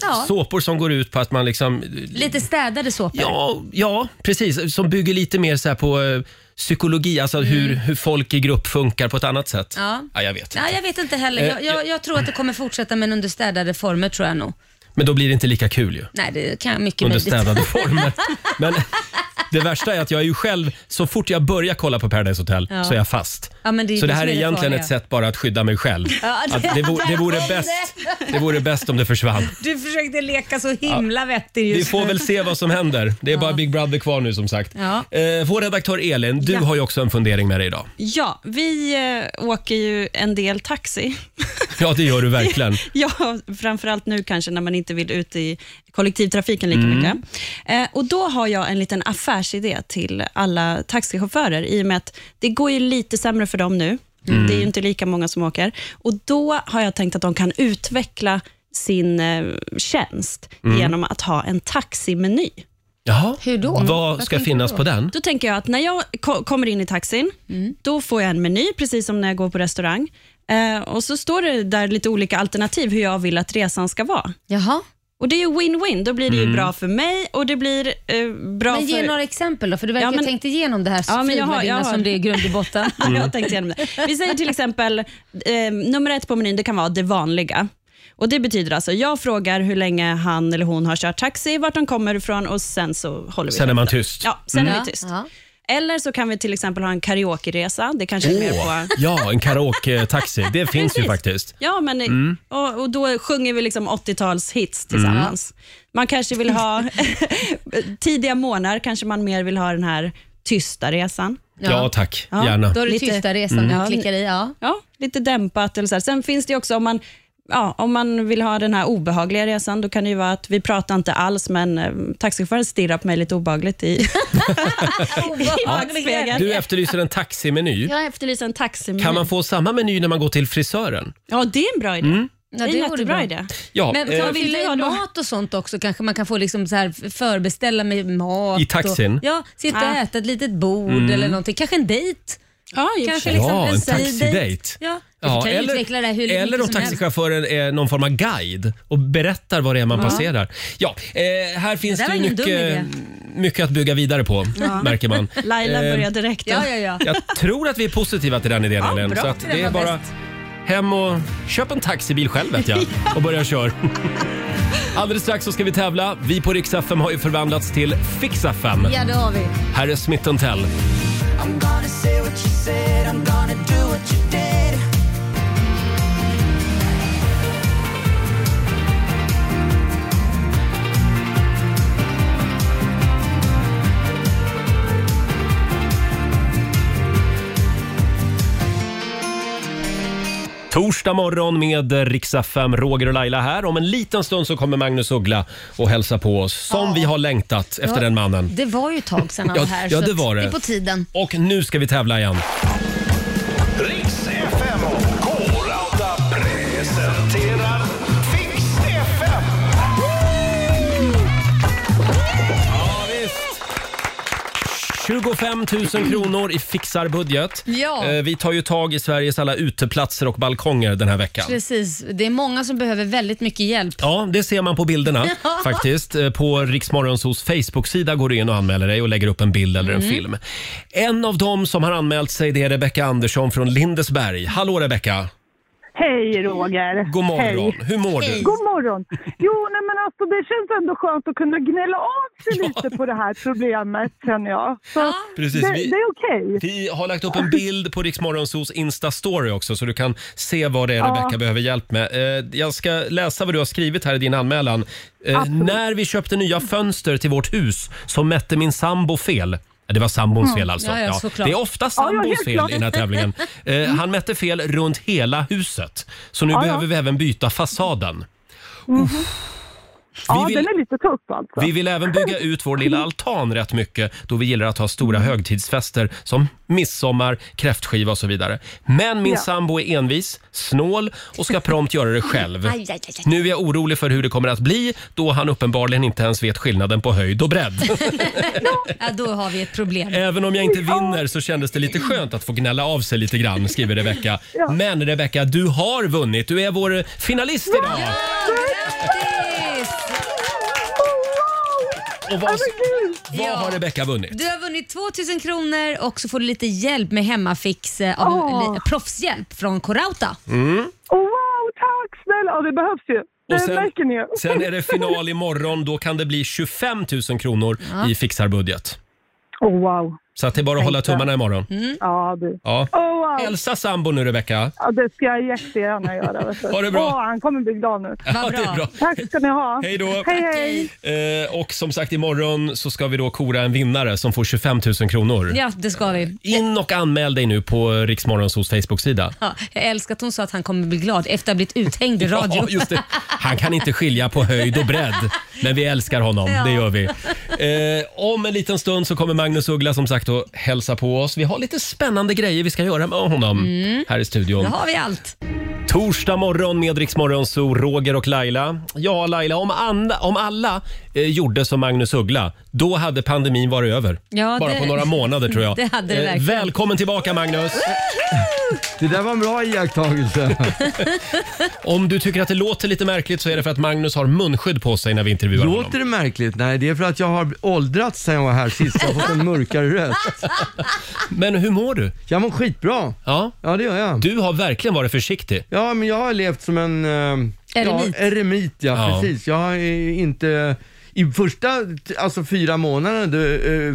S2: Ja.
S1: Såpor som går ut på att man liksom...
S2: Lite städade såpor.
S1: Ja, ja, precis. Som bygger lite mer så här på eh, psykologi, alltså hur, hur folk i grupp funkar på ett annat sätt.
S2: Mm. Ja.
S1: jag vet inte.
S2: Nej, jag vet inte heller. Jag, jag, jag tror att det kommer fortsätta men under städade former tror jag nog.
S1: Men då blir det inte lika kul ju.
S2: Nej, det kan jag mycket
S1: under
S2: möjligt.
S1: städade former. Men det värsta är att jag är ju själv, så fort jag börjar kolla på Paradise Hotel
S2: Ja.
S1: så är jag fast.
S2: Ja, men det är ju
S1: så det
S2: det
S1: här är
S2: som är det
S1: egentligen
S2: farliga.
S1: ett sätt bara att skydda mig själv.
S2: Ja, det-
S1: att det, vore, det, vore bäst, det vore bäst om det försvann.
S2: Du försökte leka så himla vettig
S1: Vi
S2: just
S1: får väl se vad som händer. Det är bara Big Brother kvar nu som sagt.
S2: Ja.
S1: Eh, vår redaktör Elin, du
S9: Ja.
S1: har ju också en fundering med dig idag.
S9: Ja, vi eh, åker ju en del taxi.
S1: Ja, det gör du verkligen.
S9: Ja, framförallt nu kanske när man inte vill ut i kollektivtrafiken lika
S1: Mm.
S9: mycket. Eh, och Då har jag en liten affärsidé till alla taxichaufförer i och med att det går ju lite sämre för dem nu.
S1: Mm.
S9: Det är ju inte lika många som åker. Och Då har jag tänkt att de kan utveckla sin eh, tjänst genom att ha en taximeny.
S1: Mm. Jaha,
S2: Hur då?
S1: vad
S2: Vad
S1: ska
S2: tänker
S1: finnas
S2: du då?
S1: på den?
S9: Då tänker jag att när jag ko- kommer in i taxin,
S2: Mm.
S9: då får jag en meny, precis som när jag går på restaurang. Eh, och så står det där lite olika alternativ hur jag vill att resan ska vara.
S2: Jaha.
S9: Och Det är ju win-win. Då blir det ju bra för mig och det blir eh, bra
S2: Men ge
S9: för...
S2: några exempel då, för du verkar
S9: Ja,
S2: ha
S9: men-
S2: tänkt igenom det här
S9: Ja,
S2: ja,
S9: men jag har- jag
S2: flygvärdinna
S9: har-
S2: som det är i grund och botten.
S9: Ja, Jag har tänkt igenom det. Vi säger till exempel, eh, nummer ett på menyn det kan vara det vanliga. Och Det betyder alltså, jag frågar hur länge han eller hon har kört taxi, vart de kommer ifrån och sen så håller vi
S1: Sen är man
S9: höften.
S1: tyst.
S9: Ja, sen är
S2: Ja,
S9: vi tyst.
S2: Mm. ja.
S9: Eller så kan vi till exempel ha en karaokeresa. Det kanske är mer
S1: Åh,
S9: på...
S1: ja, en karaoke-taxi. Det finns ju faktiskt. Mm.
S9: Ja, men, och, och då sjunger vi liksom 80-talshits tillsammans.
S1: Mm.
S9: Man kanske vill ha tidiga månader, kanske man mer vill ha den här tysta resan.
S1: Ja,
S2: Ja.
S1: tack.
S9: Ja.
S1: Gärna. Mm.
S2: Då är det
S9: Lite-
S2: tysta resan
S9: Ja.
S2: du klickar i. Ja.
S9: Ja, lite dämpat. Eller så här. Sen finns det ju också om man, ja, om man vill ha den här obehagliga resan, då kan det ju vara att vi pratar inte alls, men eh, taxichauffören stirrar på mig lite obehagligt i, i backspegeln.
S1: Du efterlyser en taximeny.
S2: Mm.
S9: Jag efterlyser en taximeny.
S1: Kan man få samma meny när man går till frisören?
S9: Ja, det är en bra idé.
S2: Ja,
S9: det är en
S2: vore
S9: jättebra
S2: bra.
S9: idé.
S1: Mm. Ja,
S2: Men
S1: eh,
S2: kan man
S9: vill
S2: fylla
S9: jag
S2: i
S9: då?
S2: mat och sånt också? Kanske man kan få liksom så här förbeställa med mat.
S1: I taxin? Mm.
S2: Och, ja, sitta och
S9: Ah.
S2: äta ett litet bord eller någonting. Kanske en dejt.
S9: Ja, i och för
S2: Kanske
S9: sig.
S1: Ja,
S2: liksom
S1: en
S2: precis-
S1: taxidejt.
S2: Ja,
S1: ja,
S2: vi kan eller, utveckla det här hur mycket
S1: eller om
S2: som helst.
S1: taxichauffören är någon form av guide och berättar vad det är man passerar. Ja, eh, här finns
S2: Det
S1: det,
S2: där
S1: ju
S2: var ingen dum
S1: mycket, mycket att bygga vidare på, märker man.
S9: Laila
S1: Eh,
S9: börjar direkt. då.
S2: Ja, ja, ja.
S1: Jag tror att vi är positiva till den idén,
S2: Ja,
S1: Ellen.
S2: bra.
S1: Så att
S2: Den
S1: det
S2: var
S1: är bara
S2: bäst.
S1: hem och köp en taxibil själv vet jag och börja köra. Alldeles strax så ska vi tävla. Vi på Riksa 5 har ju förvandlats till Fixa 5.
S2: Ja, det har vi.
S1: Här är Smith Tell.
S8: I'm gonna say what you said, I'm gonna do what you did.
S1: Torsdag morgon med Riksa 5, Roger och Laila här. Om en liten stund så kommer Magnus Uggla och hälsa på oss som vi har längtat efter
S2: Ja.
S1: den mannen.
S2: Det var ju ett tag sedan han
S1: Ja,
S2: var här.
S1: ja,
S2: så
S1: det
S2: att
S1: var det.
S2: är på tiden.
S1: Och nu ska vi tävla igen.
S6: Riks FM och K-Rauta presenterar Fix FM.
S1: Ja, visst. 25 000 kronor i fixarbudget.
S2: Ja.
S1: Eh, Vi tar ju tag i Sveriges alla uteplatser och balkonger den här veckan.
S2: Precis. Det är många som behöver väldigt mycket hjälp.
S1: Ja, det ser man på bilderna faktiskt. Eh, På Riksmorgonsos Facebook-sida går du in och anmäler dig och lägger upp en bild eller en
S2: Mm.
S1: film. En av dem som har anmält sig det är Rebecka Andersson från Lindesberg. Hallå Rebecka!
S7: Hej Roger!
S1: God morgon!
S7: Hej.
S1: Hur mår du?
S2: Hej.
S7: God morgon! Jo, nej men alltså det känns ändå skönt att kunna gnälla av sig lite på det här problemet känner jag. Så
S2: Ja.
S1: Precis,
S7: det,
S1: vi-
S7: det är okej.
S1: Vi har lagt upp en bild på Riksmorgonsos Insta-story också så du kan se vad det är
S7: Ja.
S1: Rebecka behöver hjälp med. Eh, Jag ska läsa vad du har skrivit här i din anmälan. Eh,
S7: Absolut.
S1: När vi köpte nya fönster till vårt hus så mätte min sambo fel. Ja, Det var
S7: Mm.
S1: sambons fel alltså.
S2: Mm. Ja, ja, såklart.
S1: Det är ofta
S7: Ja, ja,
S1: sambons
S7: helt
S1: fel
S7: klart.
S1: i den här tävlingen. Eh, Han mätte fel runt hela huset. Så nu
S7: Ja, ja.
S1: behöver vi även byta fasaden.
S7: Mhm. Ja,
S1: vill-
S7: den är lite tuff alltså.
S1: Vi vill även bygga ut vår lilla altan rätt mycket då vi gillar att ha stora
S2: Mm.
S1: högtidsfester som midsommar, kräftskiva och så vidare. Men min
S7: Ja.
S1: sambo är envis, snål och ska prompt göra det själv.
S2: Aj, aj, aj, aj.
S1: Nu är jag orolig för hur det kommer att bli då han uppenbarligen inte ens vet skillnaden på höjd och bredd.
S2: Ja, då har vi ett problem.
S1: Även om jag inte vinner så kändes det lite skönt att få gnälla av sig lite grann, skriver Rebecka. Men Rebecka, du har vunnit. Du är vår finalist idag.
S2: Grattis!
S1: Och vad,
S7: Gud,
S1: vad har Rebecka vunnit?
S2: Du har vunnit 2000 kronor och så får du lite hjälp med hemmafix eh, av
S7: Åh.
S2: li- proffshjälp från Corauta.
S1: Mm.
S7: Wow, tack snälla! Ja, det behövs ju. Det
S1: Och sen-
S7: märker ni ju.
S1: Sen är det final imorgon. Då kan det bli 25 000 kronor i fixarbudget.
S7: Oh, wow.
S1: Så att det är bara att hålla tummarna imorgon.
S2: Mm.
S7: Ja, du.
S1: Ja.
S7: Oh, wow.
S1: Elsa sambo nu Rebecka.
S7: Ja, det ska jag jättegärna göra. Vet du.
S1: Ha det bra.
S7: Åh, han kommer bli glad nu.
S1: Ja, det är
S2: bra.
S1: bra.
S7: Tack ska ni ha.
S1: Hej då.
S7: Hej, hej.
S1: Eh, och som sagt imorgon så ska vi då kora en vinnare som får 25 000 kronor.
S2: Ja, det ska vi.
S1: In och anmäl dig nu på Riksmorgonsos Facebook-sida.
S2: Ja, jag älskar att hon sa att han kommer bli glad efter att ha blivit uthängd i radio.
S1: Ja, just det. Han kan inte skilja på höjd och bredd, men vi älskar honom.
S2: Ja.
S1: Det gör vi. Eh, om en liten stund så kommer Magnus Uggla som sagt och hälsa på oss. Vi har lite spännande grejer vi ska göra med honom
S2: Mm.
S1: här i studion.
S2: Då har vi allt.
S1: Torsdag morgon med Rix Morgon, så Roger och Laila. Ja, Laila, om, and- om alla eh, gjorde som Magnus Uggla, då hade pandemin varit över.
S2: Ja,
S1: Bara
S2: det-
S1: på några månader tror jag. Eh,
S2: Det hade det verkligen.
S1: välkommen tillbaka Magnus!
S10: Det där var en bra iakttagelse.
S1: Om du tycker att det låter lite märkligt så är det för att Magnus har munskydd på sig när vi intervjuar honom.
S10: Låter det märkligt? Nej, det är för att jag har åldrats sen jag var här sist. Jag har fått en mörkare röst.
S1: Men hur mår du?
S10: Jag mår skitbra.
S1: Ja,
S10: Ja, det gör jag.
S1: du har verkligen varit försiktig.
S10: Ja, men jag har levt som en... eh,
S2: Eremit.
S10: Ja, eremit, ja,
S1: Ja.
S10: precis. Jag är inte... I första, alltså fyra månaderna, då, eh,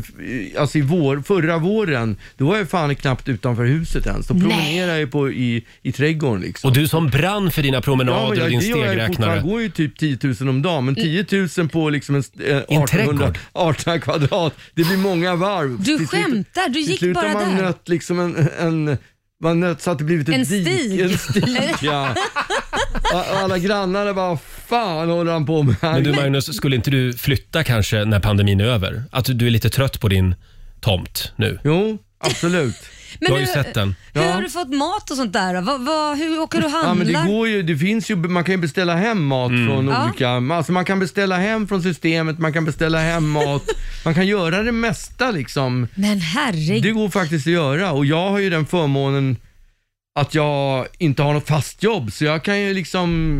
S10: alltså i vår, förra våren, då var jag fan knappt utanför huset ens. Då promenerade jag ju på, i, i trädgården liksom.
S1: Och du som brann för dina
S10: Ja,
S1: promenader
S10: men jag,
S1: och din
S10: det gör jag ju fortfarande.
S1: stegräknare.
S10: Jag går ju typ 10 000 om dagen,
S2: Mm.
S10: men 10 000 på liksom en, st- eh,
S1: I en
S10: 1800,
S1: trädgård?
S10: 18 kvadrat, det blir många varv.
S2: Du
S10: Till slut-
S2: skämtar, du
S10: till
S2: gick
S10: slut har
S2: bara
S10: man
S2: där.
S10: nött liksom en, en man nött så att det blivit ett
S2: En
S10: dik,
S2: stig.
S10: En stig, ja. Och- och Alla grannar bara, fan håller han på med?
S1: Men du Magnus, skulle inte du flytta kanske när pandemin är över? Att du är lite trött på din tomt nu?
S10: Jo, absolut.
S2: Men
S10: Jag har ju
S2: hur-
S10: sett den.
S2: Hur
S10: Ja.
S2: har du fått mat och sånt där då? Vad, vad, hur åker du och
S10: Ja, men
S2: handlar?
S10: det, går ju, det finns ju, man kan ju beställa hem mat från
S2: Ja.
S10: olika, alltså man kan beställa hem från systemet, man kan beställa hem mat, man kan göra det mesta liksom.
S2: Men herregud.
S10: Det går faktiskt att göra och jag har ju den förmånen att jag inte har något fast jobb så jag kan ju liksom,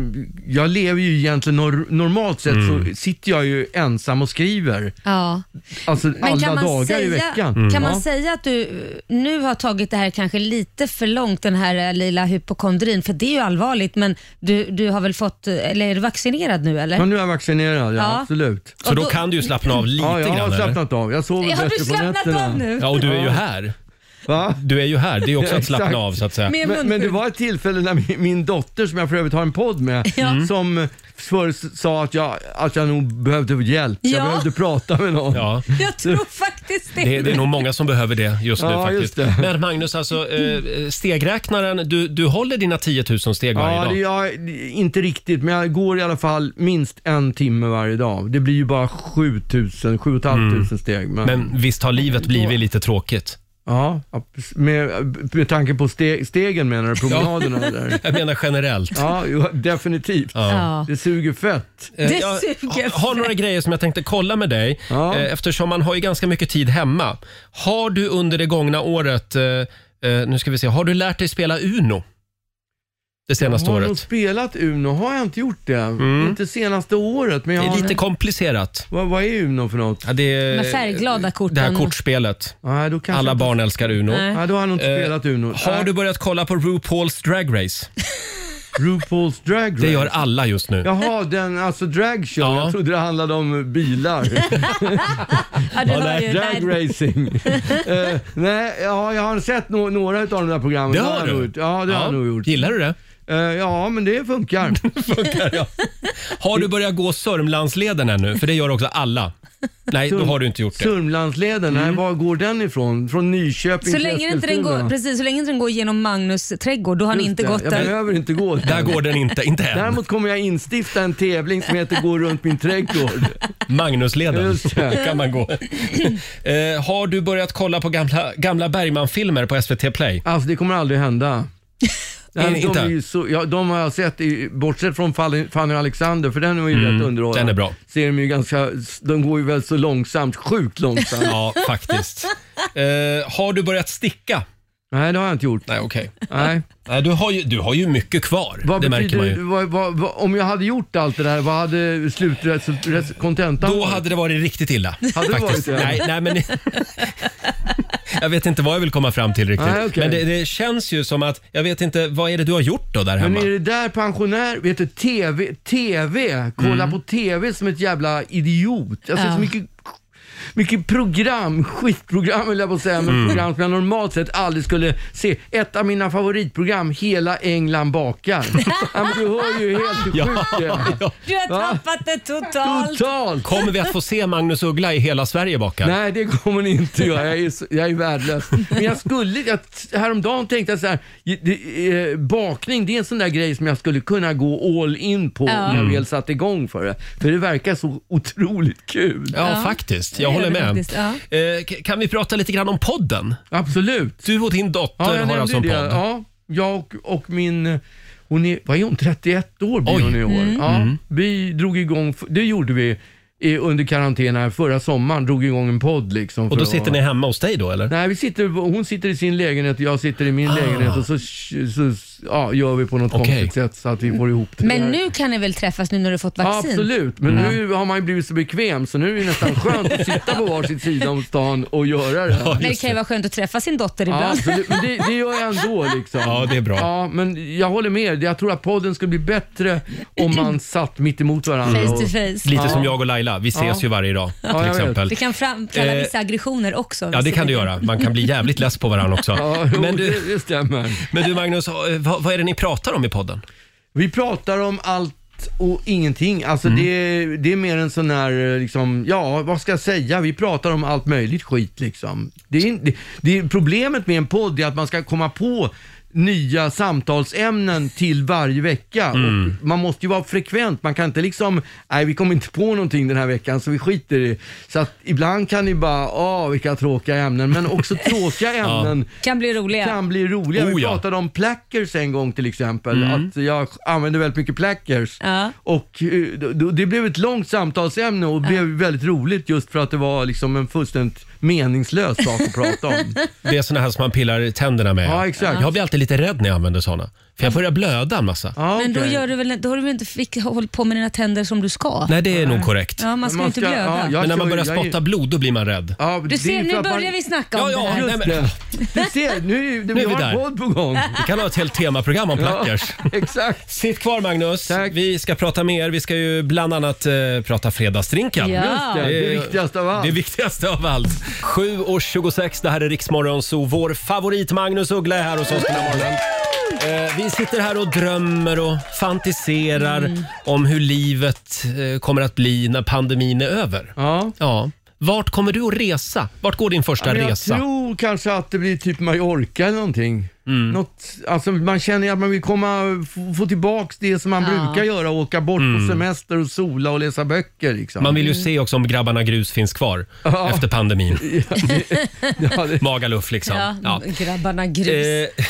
S10: jag lever ju egentligen nor- normalt sett så sitter jag ju ensam och skriver.
S2: Ja.
S10: Alltså
S2: Men
S10: alla
S2: kan man,
S10: dagar i
S2: säga,
S10: veckan. Mm.
S2: kan man
S10: Ja.
S2: säga att du eh, nu har tagit det här kanske lite för långt, den här eh, lilla hypokondrin? För det är ju allvarligt, men du, du har väl fått, eh, eller är du vaccinerad nu eller?
S10: Ja, nu är jag vaccinerad, ja,
S2: Ja.
S10: absolut.
S2: Så då Och då- kan
S1: du ju slappna av lite
S10: ja, jag
S1: grann,
S10: har
S1: eller?
S10: slappnat av. Jag sover
S2: Ja, har
S10: bättre
S2: du
S10: på
S2: slappnat av
S10: nätterna.
S2: nu?
S1: Ja, och du är ju här.
S10: Va?
S1: Du är ju här, det är också att slappna
S10: Exakt.
S1: av så att säga.
S2: Med
S10: Men, men det
S2: munskydd.
S10: var ett tillfälle när min, min dotter, som jag för övrigt har en podd med,
S1: Mm.
S2: Ja.
S10: som förr s- sa att jag, att jag nog behövde hjälp.
S2: Ja.
S10: Jag behövde prata med någon.
S1: Ja.
S2: Jag tror faktiskt det.
S1: Det, det är nog många som behöver det just nu
S10: Ja,
S1: faktiskt.
S10: just det.
S1: Men Magnus, alltså, eh, stegräknaren, du, du håller dina 10 000 steg varje
S10: Ja,
S1: dag?
S10: det, jag, inte riktigt, men jag går i alla fall minst en timme varje dag. Det blir ju bara 7000, 7500 steg. Men,
S1: Mm. Men visst har livet blivit lite tråkigt?
S10: ja, med, med tanke på ste, stegen menar du, promenaderna där?
S1: Jag menar generellt.
S10: Ja, jo, definitivt.
S1: Ja.
S10: Det suger fett.
S1: Eh,
S2: Det
S1: jag
S2: suger
S1: har några grejer som jag tänkte kolla med dig
S10: Ja.
S1: eh, eftersom man har ju ganska mycket tid hemma. Har du under det gångna året, eh, eh, nu ska vi se, har du lärt dig spela Uno? Det senaste
S10: jag har nog
S1: året. Mm.
S10: spelat Uno, har jag inte gjort det? Inte senaste året, men jag
S1: Det är
S10: har...
S1: lite komplicerat.
S10: Vad, vad är Uno för något?
S1: Ja, det är,
S2: Med
S10: Eh,
S2: färgglada
S1: Det här
S2: korten.
S1: kortspelet.
S10: Nej, då kanske
S1: Alla
S10: inte...
S1: barn älskar Uno.
S2: Nej.
S10: Nej, då har jag nog inte
S1: Eh,
S10: spelat Uno.
S1: Har
S10: Nej.
S1: du börjat kolla på RuPaul's Drag Race?
S10: RuPaul's Drag Race?
S1: Det gör alla just nu.
S10: Jaha, den, alltså dragshow.
S1: Ja.
S10: Jag trodde det handlade om bilar.
S2: Ja, du hör ju,
S10: nej,
S2: nej,
S10: drag racing. Eh, nej, ja, jag har sett no- några av de där programmen.
S1: Det
S10: Det
S1: har
S10: jag nog
S1: du?
S10: gjort. Ja, det har jag nog gjort.
S1: Gillar du det?
S10: Eh, ja, men det funkar.
S1: Funkar, ja. Har du börjat gå Sörmlandsleden ännu? För det gör också alla. Nej, då har du inte gjort det. Mm.
S10: Sörmlandsleden, nej, var går den ifrån? Från Nyköping
S2: Så
S10: till
S2: länge, inte den går,
S10: Eskilstuna?
S2: precis, så länge inte den går genom Magnus trädgård, då har han
S10: Just
S2: inte
S10: det,
S2: gått
S10: Jag
S2: där.
S10: behöver inte gå
S1: Där går den inte, inte än.
S10: Däremot kommer jag instifta en tävling som heter Gå runt min trädgård.
S1: Magnusleden
S10: Just det.
S1: kan man gå. Eh, har du börjat kolla på gamla, gamla Bergman-filmer på SVT Play?
S10: Alltså det kommer aldrig hända. Nej, de,
S1: inte?
S10: är ju så, ja, de har jag sett, i, bortsett från Fanny Fanny och Alexander, för den var ju rätt underhållande.
S1: Mm, den är bra.
S10: Ser de, ju ganska, de går ju väl så långsamt, sjukt långsamt.
S1: Ja, faktiskt. Eh, har du börjat sticka?
S10: Nej, det har jag inte gjort.
S1: Nej, okej.
S10: Nej.
S1: Nej, du, har ju, du har ju mycket kvar.
S10: Vad
S1: det märker man
S10: betyder,
S1: ju.
S10: vad, vad, vad, om jag hade gjort allt det där, vad hade slutresultatet, kontentan
S1: Då
S10: varit?
S1: hände det varit riktigt illa.
S10: Hade det
S1: faktiskt.
S10: varit det?
S1: Nej, nej, men... jag vet inte vad jag vill komma fram till riktigt.
S10: Nej, okej.
S1: Men det, det känns ju som att, jag vet inte, vad är det du har gjort då där
S10: Men
S1: hemma?
S10: är det där pensionär, vet du, TV, TV, kolla
S1: Mm.
S10: på TV som ett jävla idiot. Jag ser så mycket, mycket program, skitprogram vill jag på att säga, men
S1: Mm.
S10: program som jag normalt sett aldrig skulle se. Ett av mina favoritprogram, Hela England bakar. ja, men du hör ju helt hur sjukt det är.
S1: ja.
S2: Du har
S10: Va?
S2: tappat det totalt.
S10: Totalt!
S1: Kommer vi att få se Magnus Uggla i Hela Sverige bakar?
S10: Nej, det kommer ni inte göra. Jag är, så, jag är värdelös. Men jag skulle, jag, häromdagen tänkte jag så här, det, eh, bakning det är en sån där grej som jag skulle kunna gå all in på
S2: Ja. Mm.
S10: om jag väl satt igång för det. För det verkar så otroligt kul.
S1: Ja,
S2: Ja.
S1: faktiskt.
S2: Det
S1: Jag
S2: är
S1: håller
S2: det
S1: med.
S2: faktiskt, ja.
S1: Eh, k- Kan vi prata lite grann om podden?
S10: Absolut.
S1: Du och din dotter
S10: Ja, jag
S1: har
S10: nämnde
S1: alltså
S10: ju
S1: en
S10: det.
S1: podd.
S10: Ja, jag och, och min hon är, vad är hon, 31 år blir
S1: Oj. Mm.
S10: hon i år. Ja, Vi drog igång, det gjorde vi eh, under karantän här förra sommaren, drog igång en podd liksom.
S1: Och
S10: för
S1: då
S10: att-
S1: sitter ni hemma hos dig då eller? Ah.
S10: Nej, vi sitter, hon sitter i sin lägenhet och jag sitter i min lägenhet och så, så ja, gör vi på något
S1: Okej.
S10: konstigt sätt så att vi får ihop det.
S2: Men
S10: där.
S2: nu kan ni väl träffas nu när du fått
S10: Ja,
S2: vaccin?
S10: absolut, men nu
S1: Mm.
S10: har man ju blivit så bekväm så nu är det nästan skönt att sitta på varsin sida om stan och göra det. här.
S2: Men det kan ju vara skönt att träffa sin dotter
S10: Ja,
S2: ibland.
S10: absolut. Men det, det gör jag ändå liksom.
S1: Ja, det är bra.
S10: Ja, men jag håller med. Jag tror att podden skulle bli bättre om man satt mitt emot varandra.
S2: Face to
S10: och-
S2: face.
S1: Lite
S10: Ja.
S1: som jag och Laila, vi ses
S10: Ja.
S1: ju varje dag
S10: jag
S1: till
S10: vet.
S1: exempel.
S2: Det kan framkalla
S1: Eh,
S2: vissa aggressioner också.
S1: Ja, det kan du göra. Man kan bli jävligt less på varandra också.
S10: Ja, jo,
S1: Men du,
S10: det, det stämmer.
S1: men du Magnus, eh, vad, vad är det ni pratar om i podden?
S10: Vi pratar om allt och ingenting. Alltså det, det är mer en sån här, eh, liksom, ja vad ska jag säga? Vi pratar om allt möjligt skit liksom. Det är, in- det, det, problemet med en podd är att man ska komma på nya samtalsämnen till varje vecka. Och man måste ju vara frekvent, man kan inte liksom, nej vi kommer inte på någonting den här veckan så vi skiter i det." Så att ibland kan ni bara, åh vilka tråkiga ämnen, men också tråkiga ämnen
S2: Kan bli roliga.
S10: kan bli roliga.
S2: Oh,
S10: vi
S2: ja.
S10: pratade om plackers en gång till exempel,
S2: Mm.
S10: att jag använder väldigt mycket plackers.
S2: Ja.
S10: Och eh, d- d- det blev ett långt samtalsämne och blev väldigt roligt just för att det var liksom en fullständigt meningslös sak att prata om.
S1: Det är såna här som man pillar tänderna med.
S10: Ja, exakt.
S1: Jag blir alltid lite rädd när jag använder såna. För jag börjar blöda en massa.
S2: Men då, gör du väl, då har du väl inte fick, hållit på med dina tänder som du ska?
S1: Nej, det är nog korrekt.
S2: Ja, man ska ju inte blöda.
S1: men när man börjar spotta blod, då blir man rädd.
S2: Du ser, nu börjar vi snacka om
S1: ja,
S2: det
S1: ja,
S2: här.
S1: nej, men,
S10: Du ser, nu,
S1: Nu är
S10: vi
S1: vi
S10: har
S1: där.
S10: en podd på gång.
S1: Vi kan ha ett helt temaprogram om
S10: Ja,
S1: plackers.
S10: exakt.
S1: Sitt kvar Magnus. Vi ska prata med er. Vi ska ju bland annat eh, prata fredagsdrinken.
S10: Ja. Just det, det
S1: är-
S10: viktigaste av allt.
S1: Det viktigaste av allt. 7.26, det här är Riksmorgon, så vår favorit Magnus Uggla är här hos oss den här morgonen. Eh, Vi sitter här och drömmer och fantiserar om hur livet eh, kommer att bli när pandemin är över.
S10: Ja.
S1: ja. Vart kommer du att resa? Vart går din första
S10: Ja, men jag
S1: resa?
S10: tror kanske att det blir typ Mallorca eller någonting.
S1: Mm.
S10: Något, alltså man känner ju att man vill komma, få, få tillbaka det som man
S1: Ja.
S10: brukar göra, åka bort
S1: Mm.
S10: på semester och sola och läsa böcker. Liksom.
S1: Man vill ju se också om grabbarna grus finns kvar
S10: Ja.
S1: efter pandemin. Magaluf liksom.
S2: Ja,
S1: Ja.
S2: Grabbarna grus.
S1: Eh,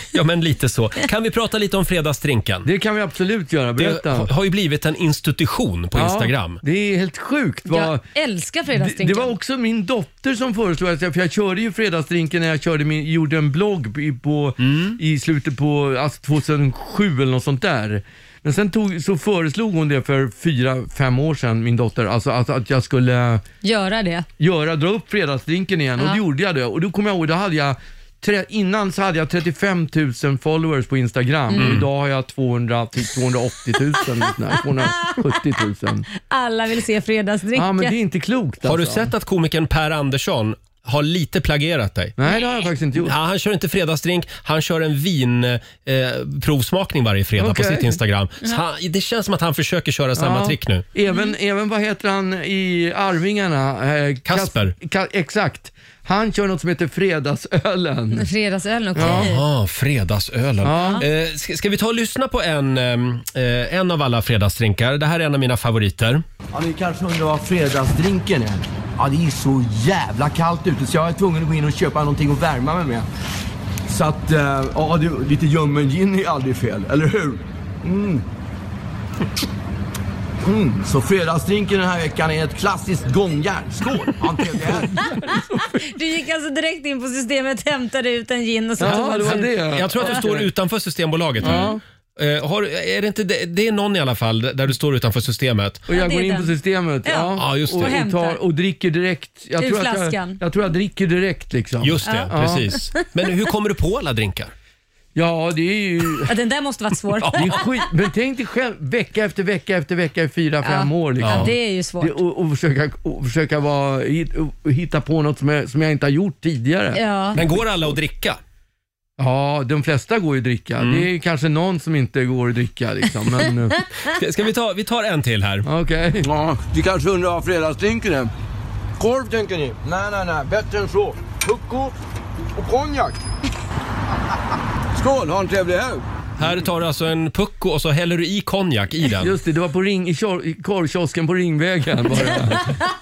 S1: ja, men lite så. Kan vi prata lite om fredagsdrinken?
S10: Det kan vi absolut göra.
S1: Det
S10: Berätta.
S1: har- har ju blivit en institution på
S10: Ja,
S1: Instagram.
S10: Det är helt sjukt. Vad,
S2: Jag älskar
S10: det, det
S2: fredagsdrinken.
S10: var också min dotter som föreslog att jag, för jag körde ju fredagsdrinken när jag körde min, gjorde en blogg i- på, i slutet på alltså 2007 eller något sånt där. Men sen tog, så föreslog hon det för fyra, fem år sedan, min dotter, alltså att, att jag skulle
S2: Göra det.
S10: göra, dra upp fredagsdrinken igen och
S2: Ja.
S10: då gjorde jag det. Och då kommer jag ihåg, då hade jag, tre, innan så hade jag 35 000 followers på Instagram
S2: Mm.
S10: och idag har jag 200, typ 280 000, nej, 270 000.
S2: Alla vill se fredagsdrinken.
S10: inte klokt
S1: Har du
S10: alltså.
S1: sett att komikern Per Andersson har lite plagierat dig?
S10: Nej, det har jag faktiskt inte gjort.
S1: Ja, han kör inte fredagsdrink, han kör en vinprovsmakning eh, provsmakning varje fredag
S10: Okej.
S1: på sitt Instagram. Så
S2: Mm.
S10: Ja.
S1: han, det känns som att han försöker köra samma
S10: Ja.
S1: trick nu.
S10: Även, även vad heter han i Arvingarna? Eh, Kas-
S1: Kasper.
S10: Ka- exakt. Han kör något som heter Fredagsölen.
S2: Fredagsölen, okej.
S1: Jaha, fredagsölen.
S10: Ja.
S1: Eh, ska, ska vi ta och lyssna på en, ehm, eh, en av alla fredagsdrinkar? Det här är en av mina favoriter.
S11: Ja, ni kanske undrar vad fredagsdrinken är? Ja, det är så jävla kallt ute så jag är tvungen att gå in och köpa någonting att värma mig med. Så att, eh, ja, det, lite ljummen gin är ju aldrig fel, eller hur? Mm. Mm. Så fredagsdrinken den här veckan är ett klassiskt gångjärn. Skål! Ja, trevlig helg.
S2: Du gick alltså direkt in på systemet, hämtade ut en gin och så tog man sig ut.
S1: Jag tror att du står utanför Systembolaget
S2: Ja.
S1: nu. Eh, har, är det, inte, det, det är någon i alla fall där du står utanför systemet.
S10: Och jag går in på systemet ja.
S1: Ja, just det.
S10: Och, och, tar, och dricker direkt. Jag
S2: Ur
S10: tror, att jag,
S2: flaskan.
S10: jag tror jag dricker direkt liksom.
S1: Just det,
S10: Ja.
S1: precis. Men hur kommer du på alla drinkar?
S10: Ja, det är ju...
S2: Ja, den där måste varit svår.
S10: Det är skit. Men tänk dig själv, vecka efter vecka efter vecka i fyra,
S2: Ja.
S10: fem år. Liksom.
S2: Ja, det är ju svårt.
S10: och, och försöka, och försöka vara, hit- och hitta på något som jag, som jag inte har gjort tidigare.
S2: Ja.
S1: Men går alla att dricka? Mm.
S10: Ja, de flesta går ju att dricka. Det är kanske någon som inte går att dricka. Liksom, men, eh,
S1: Ska, ska vi, ta, vi tar en till här.
S10: Okej.
S11: Ja, du kanske undrar vad fredagsdrinken är? Korv tänker ni? Nej, nej, nej. Bättre än så. Pucko och konjak. Skål, ha en trevlig helg.
S1: Här tar du alltså en pucko och så häller du i konjak i den.
S10: Just det, det var på ring, i, kör, i korvkiosken på Ringvägen. Bara.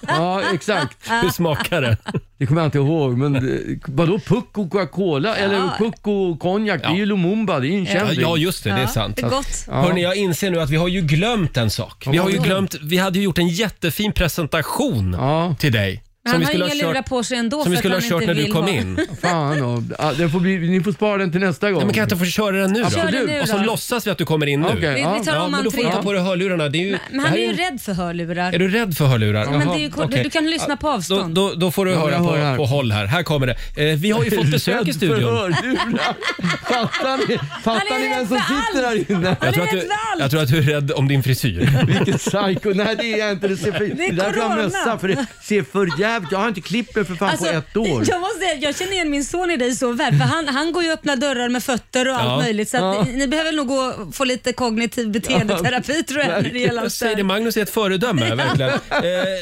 S10: ja, exakt.
S1: Hur smakar det?
S10: Det kommer jag inte ihåg, men eh, vadå Pucko Coca-Cola? Eller Pucko Konjak? Det är ju Lumumba, det är ju en
S1: Ja,
S10: kändis.
S1: ja, just det. Det är sant.
S10: Ja.
S1: Hörni, jag inser nu att vi har ju glömt en sak. Vi, har ju
S10: vadå?
S1: glömt, vi hade ju gjort en jättefin presentation till dig.
S2: Men han
S1: vi
S2: har ju
S1: skulle
S2: inga
S1: ha kört-
S2: lurar på sig ändå
S1: som vi
S2: för
S1: skulle
S2: att
S1: ha
S2: han
S1: kört
S2: inte
S1: när du
S2: vill
S1: kom
S2: ha.
S1: in.
S10: Fan, och, ja, den får bli, ni får spara den till nästa gång.
S1: men kan jag inte få köra den nu då?
S2: Kör den nu
S1: Och så
S2: då.
S1: låtsas vi att du kommer in nu.
S10: Okej, Vi- vi
S2: ja. tar om
S1: ja, men då får du
S2: entrén.
S1: ta på dig hörlurarna. Det är ju,
S2: Men
S1: det
S2: han
S1: här
S2: är ju
S1: en-
S2: rädd för hörlurar.
S1: Är du rädd för hörlurar?
S2: Ja, men det är ju
S1: Jaha,
S2: kort-
S1: okej.
S2: du kan lyssna på avstånd.
S1: Då, då, då får du
S10: Ja,
S1: höra
S10: jag
S1: på,
S10: hör här.
S1: på håll här. Här kommer det. Eh, vi har ju fått besök i studion.
S10: Fattar ni, fattar ni vem som sitter här inne?
S1: Jag tror, att du, jag tror att du är rädd om din frisyr.
S10: Vilket psyko. Nej, det är jag inte. Det ser för,
S1: Det är
S10: det är därför jag har
S1: corona.
S10: mössa, för det ser för jävligt. Jag har inte klippt mig för fan på ett år.
S2: Alltså, Jag, måste, säga, jag känner igen min son i dig så väl, för han, han går ju och öppnar dörrar med fötter och
S10: Ja.
S2: allt möjligt. Så att
S10: Ja.
S2: ni, ni behöver nog gå och få lite kognitiv beteendeterapi tror jag. När det gäller allt det
S1: Säger det,
S2: här.
S1: Magnus är ett föredöme,
S2: Ja.
S1: verkligen. Eh,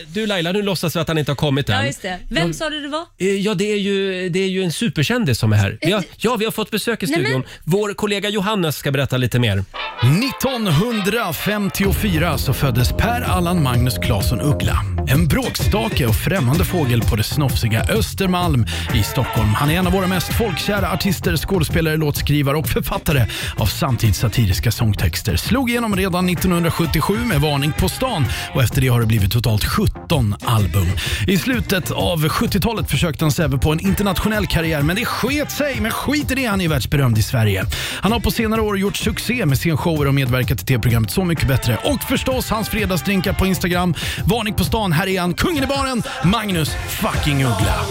S1: du Laila, nu låtsas vi att han inte har kommit
S2: Ja,
S1: än.
S2: just det. Vem sa du det var?
S1: Eh, Ja, det är ju, det är ju en superkändis som är här. Vi har, ja, vi har fått besök i
S2: Eh, Nej, men-
S1: studion. Vår kollega Johannes ska berätta lite mer.
S12: 1954 så föddes Per Allan Magnus Claesson Uggla. En bråkstake och främmande fågel på det snofsiga Östermalm i Stockholm. Han är en av våra mest folkkära artister, skådespelare, låtskrivare och författare av samtidssatiriska sångtexter. Slog igenom redan 1977 med Varning på stan och efter det har det blivit totalt 17 album. I slutet av 70-talet försökte han sig även på en internationell karriär, men det sket sig. Men skit i det, han är ju världsberömd i Sverige. Han har på senare år gjort succé med scenshower och medverkat i tv-programmet Så mycket bättre. Och förstås hans fredagsdrinkar på Instagram. Varning på stan, här är han, kungen i baren, Magnus fucking Uggla.
S1: Mm.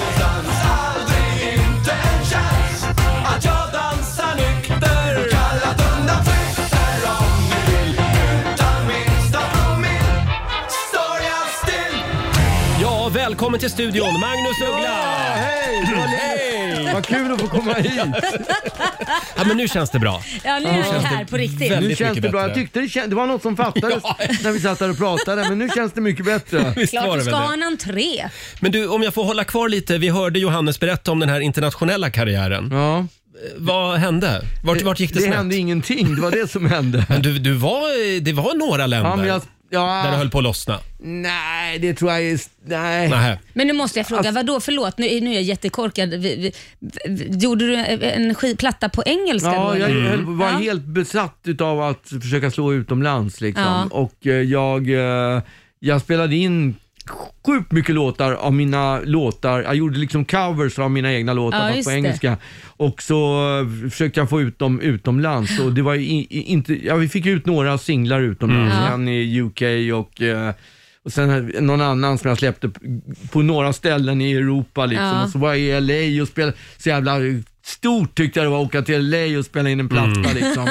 S8: Inte en chans att jag dansar nykter. Kalla undan fester om ni vill. Utan minsta promille står jag still.
S1: Mm. Ja, välkommen till studion, Magnus Uggla! Hej!
S10: Vad kul att få komma hit!
S1: Ja, men nu känns det bra.
S2: Ja, nu är han här på riktigt.
S10: Nu känns det bra. Jag tyckte det, kän- det var något som fattades när vi satt här och pratade, men nu känns det mycket bättre.
S1: Visst
S2: Klart
S1: var
S2: du
S1: det
S2: ska
S1: väl
S2: ha en
S1: det?
S2: entré.
S1: Men du, om jag får hålla kvar lite. Vi hörde Johannes berätta om den här internationella karriären. Eh,
S10: Ja.
S1: Vad hände? Vart, vart gick det,
S10: det
S1: snett?
S10: hände ingenting. Det var det som hände.
S1: Men du, du var, det var några länder
S10: Ja, men jag- ja.
S1: där det höll på att lossna.
S10: Nej, det tror jag är... Nej. Alltså-
S1: Nähä.
S2: Men nu måste jag fråga, vadå förlåt, nu, är- nu är jag jättekorkad. Vi, vi, vi, gjorde du en ski- platta på engelska då?
S10: Ja, jag
S2: eller?
S10: höll- var
S2: Ja.
S10: helt besatt utav att försöka slå utomlands liksom.
S2: Ja.
S10: Och eh, jag, eh, jag spelade in sjukt mycket låtar av mina låtar. Jag gjorde liksom covers av mina egna
S11: Ja,
S10: låtar fast
S11: just
S10: på
S11: det.
S10: engelska. Och så eh, försökte jag få ut dem utomlands och det var ju i- i- inte, ja, vi fick ut några singlar utomlands.
S11: Mm. Ja.
S10: En i UK och eh, och sen här- någon annan som jag släppte p- på några ställen i Europa liksom.
S11: Ja.
S10: Och så var jag i LA och spelade, så jävla stort tyckte jag det var att åka till LA och spela in en platta
S8: Mm.
S10: liksom.